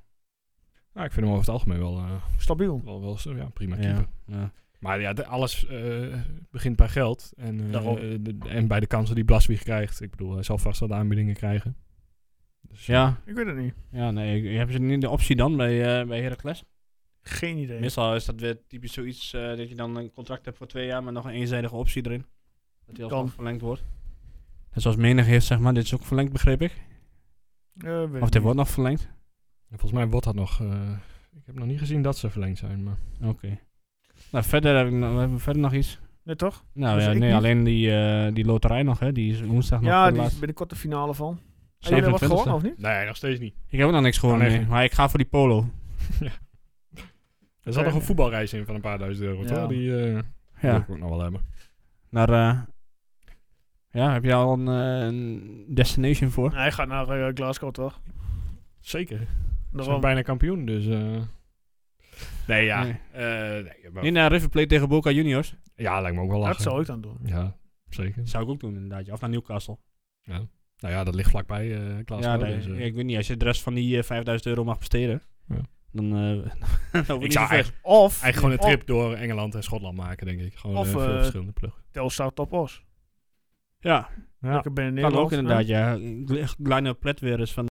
Nou, ik vind hem over het algemeen wel, eh, Stabiel. wel, wel zo- ja, prima keeper. Ja. ja. Maar ja, de- alles eh, begint bij geld. En, eh, Daarom. de- en bij de kansen die Blaswieg krijgt. Ik bedoel, hij zal vast wel de aanbiedingen krijgen. Dus, ja, Ik weet het niet. ja, nee. ik- Hebben ze niet de optie dan bij, eh bij Heracles? Geen idee. Meestal is dat weer typisch zoiets eh, dat je dan een contract hebt voor twee jaar, maar nog een eenzijdige optie erin. Dat die alsnog Kan. verlengd wordt. En zoals menig heeft, zeg maar. Dit is ook verlengd, begreep ik. Eh, weet Of ik dit niet. wordt nog verlengd. En volgens mij wordt dat nog... eh, ik heb nog niet gezien dat ze verlengd zijn. Maar Nou, verder heb ik nog, hebben we verder nog iets. Nee, toch? Nou Dus ja, ik nee, niet. alleen die, eh, die loterij nog, hè. Die is woensdag nog ja, voor de die is laatste. binnenkort de finale van. Heb je er wat 27e. gewonnen of niet? nee, nog steeds niet. Ik heb ook nog niks gehoord, Oh, nee, nee. geen- Maar ik ga voor die polo. Er zat Nee, nog een nee. voetbalreis in van een paar duizend euro, Ja. toch? Die eh wil Ja. ik ook nog wel hebben. Naar, eh, ja, heb je al een, eh, een destination voor? Nee, hij gaat naar eh, Glasgow toch? Zeker. Ze zijn Daarom. bijna kampioen, dus... eh, nee, ja. Nee. Eh, nee, maar- Niet naar River Plate tegen Boca Juniors. Ja, lijkt me ook wel lachen. Dat zou ik dan doen. Ja, zeker. Dat zou ik ook doen, inderdaad. ja. Of naar Newcastle. Nou ja, dat ligt vlakbij eh Klaas. Ja, Groot, nee, dus, eh, ik weet niet. Als je de rest van die eh, 5000 euro mag besteden, Ja. dan... eh dan Ik zou eigenlijk, Of, eigenlijk gewoon een of- trip door Engeland en Schotland maken, denk ik. Gewoon Of, eh, eh, veel verschillende pluggen. Telstar Top Os. ja, Lekker binnen kan Nederland, eh, ook inderdaad, ja. Kleine plet weer eens van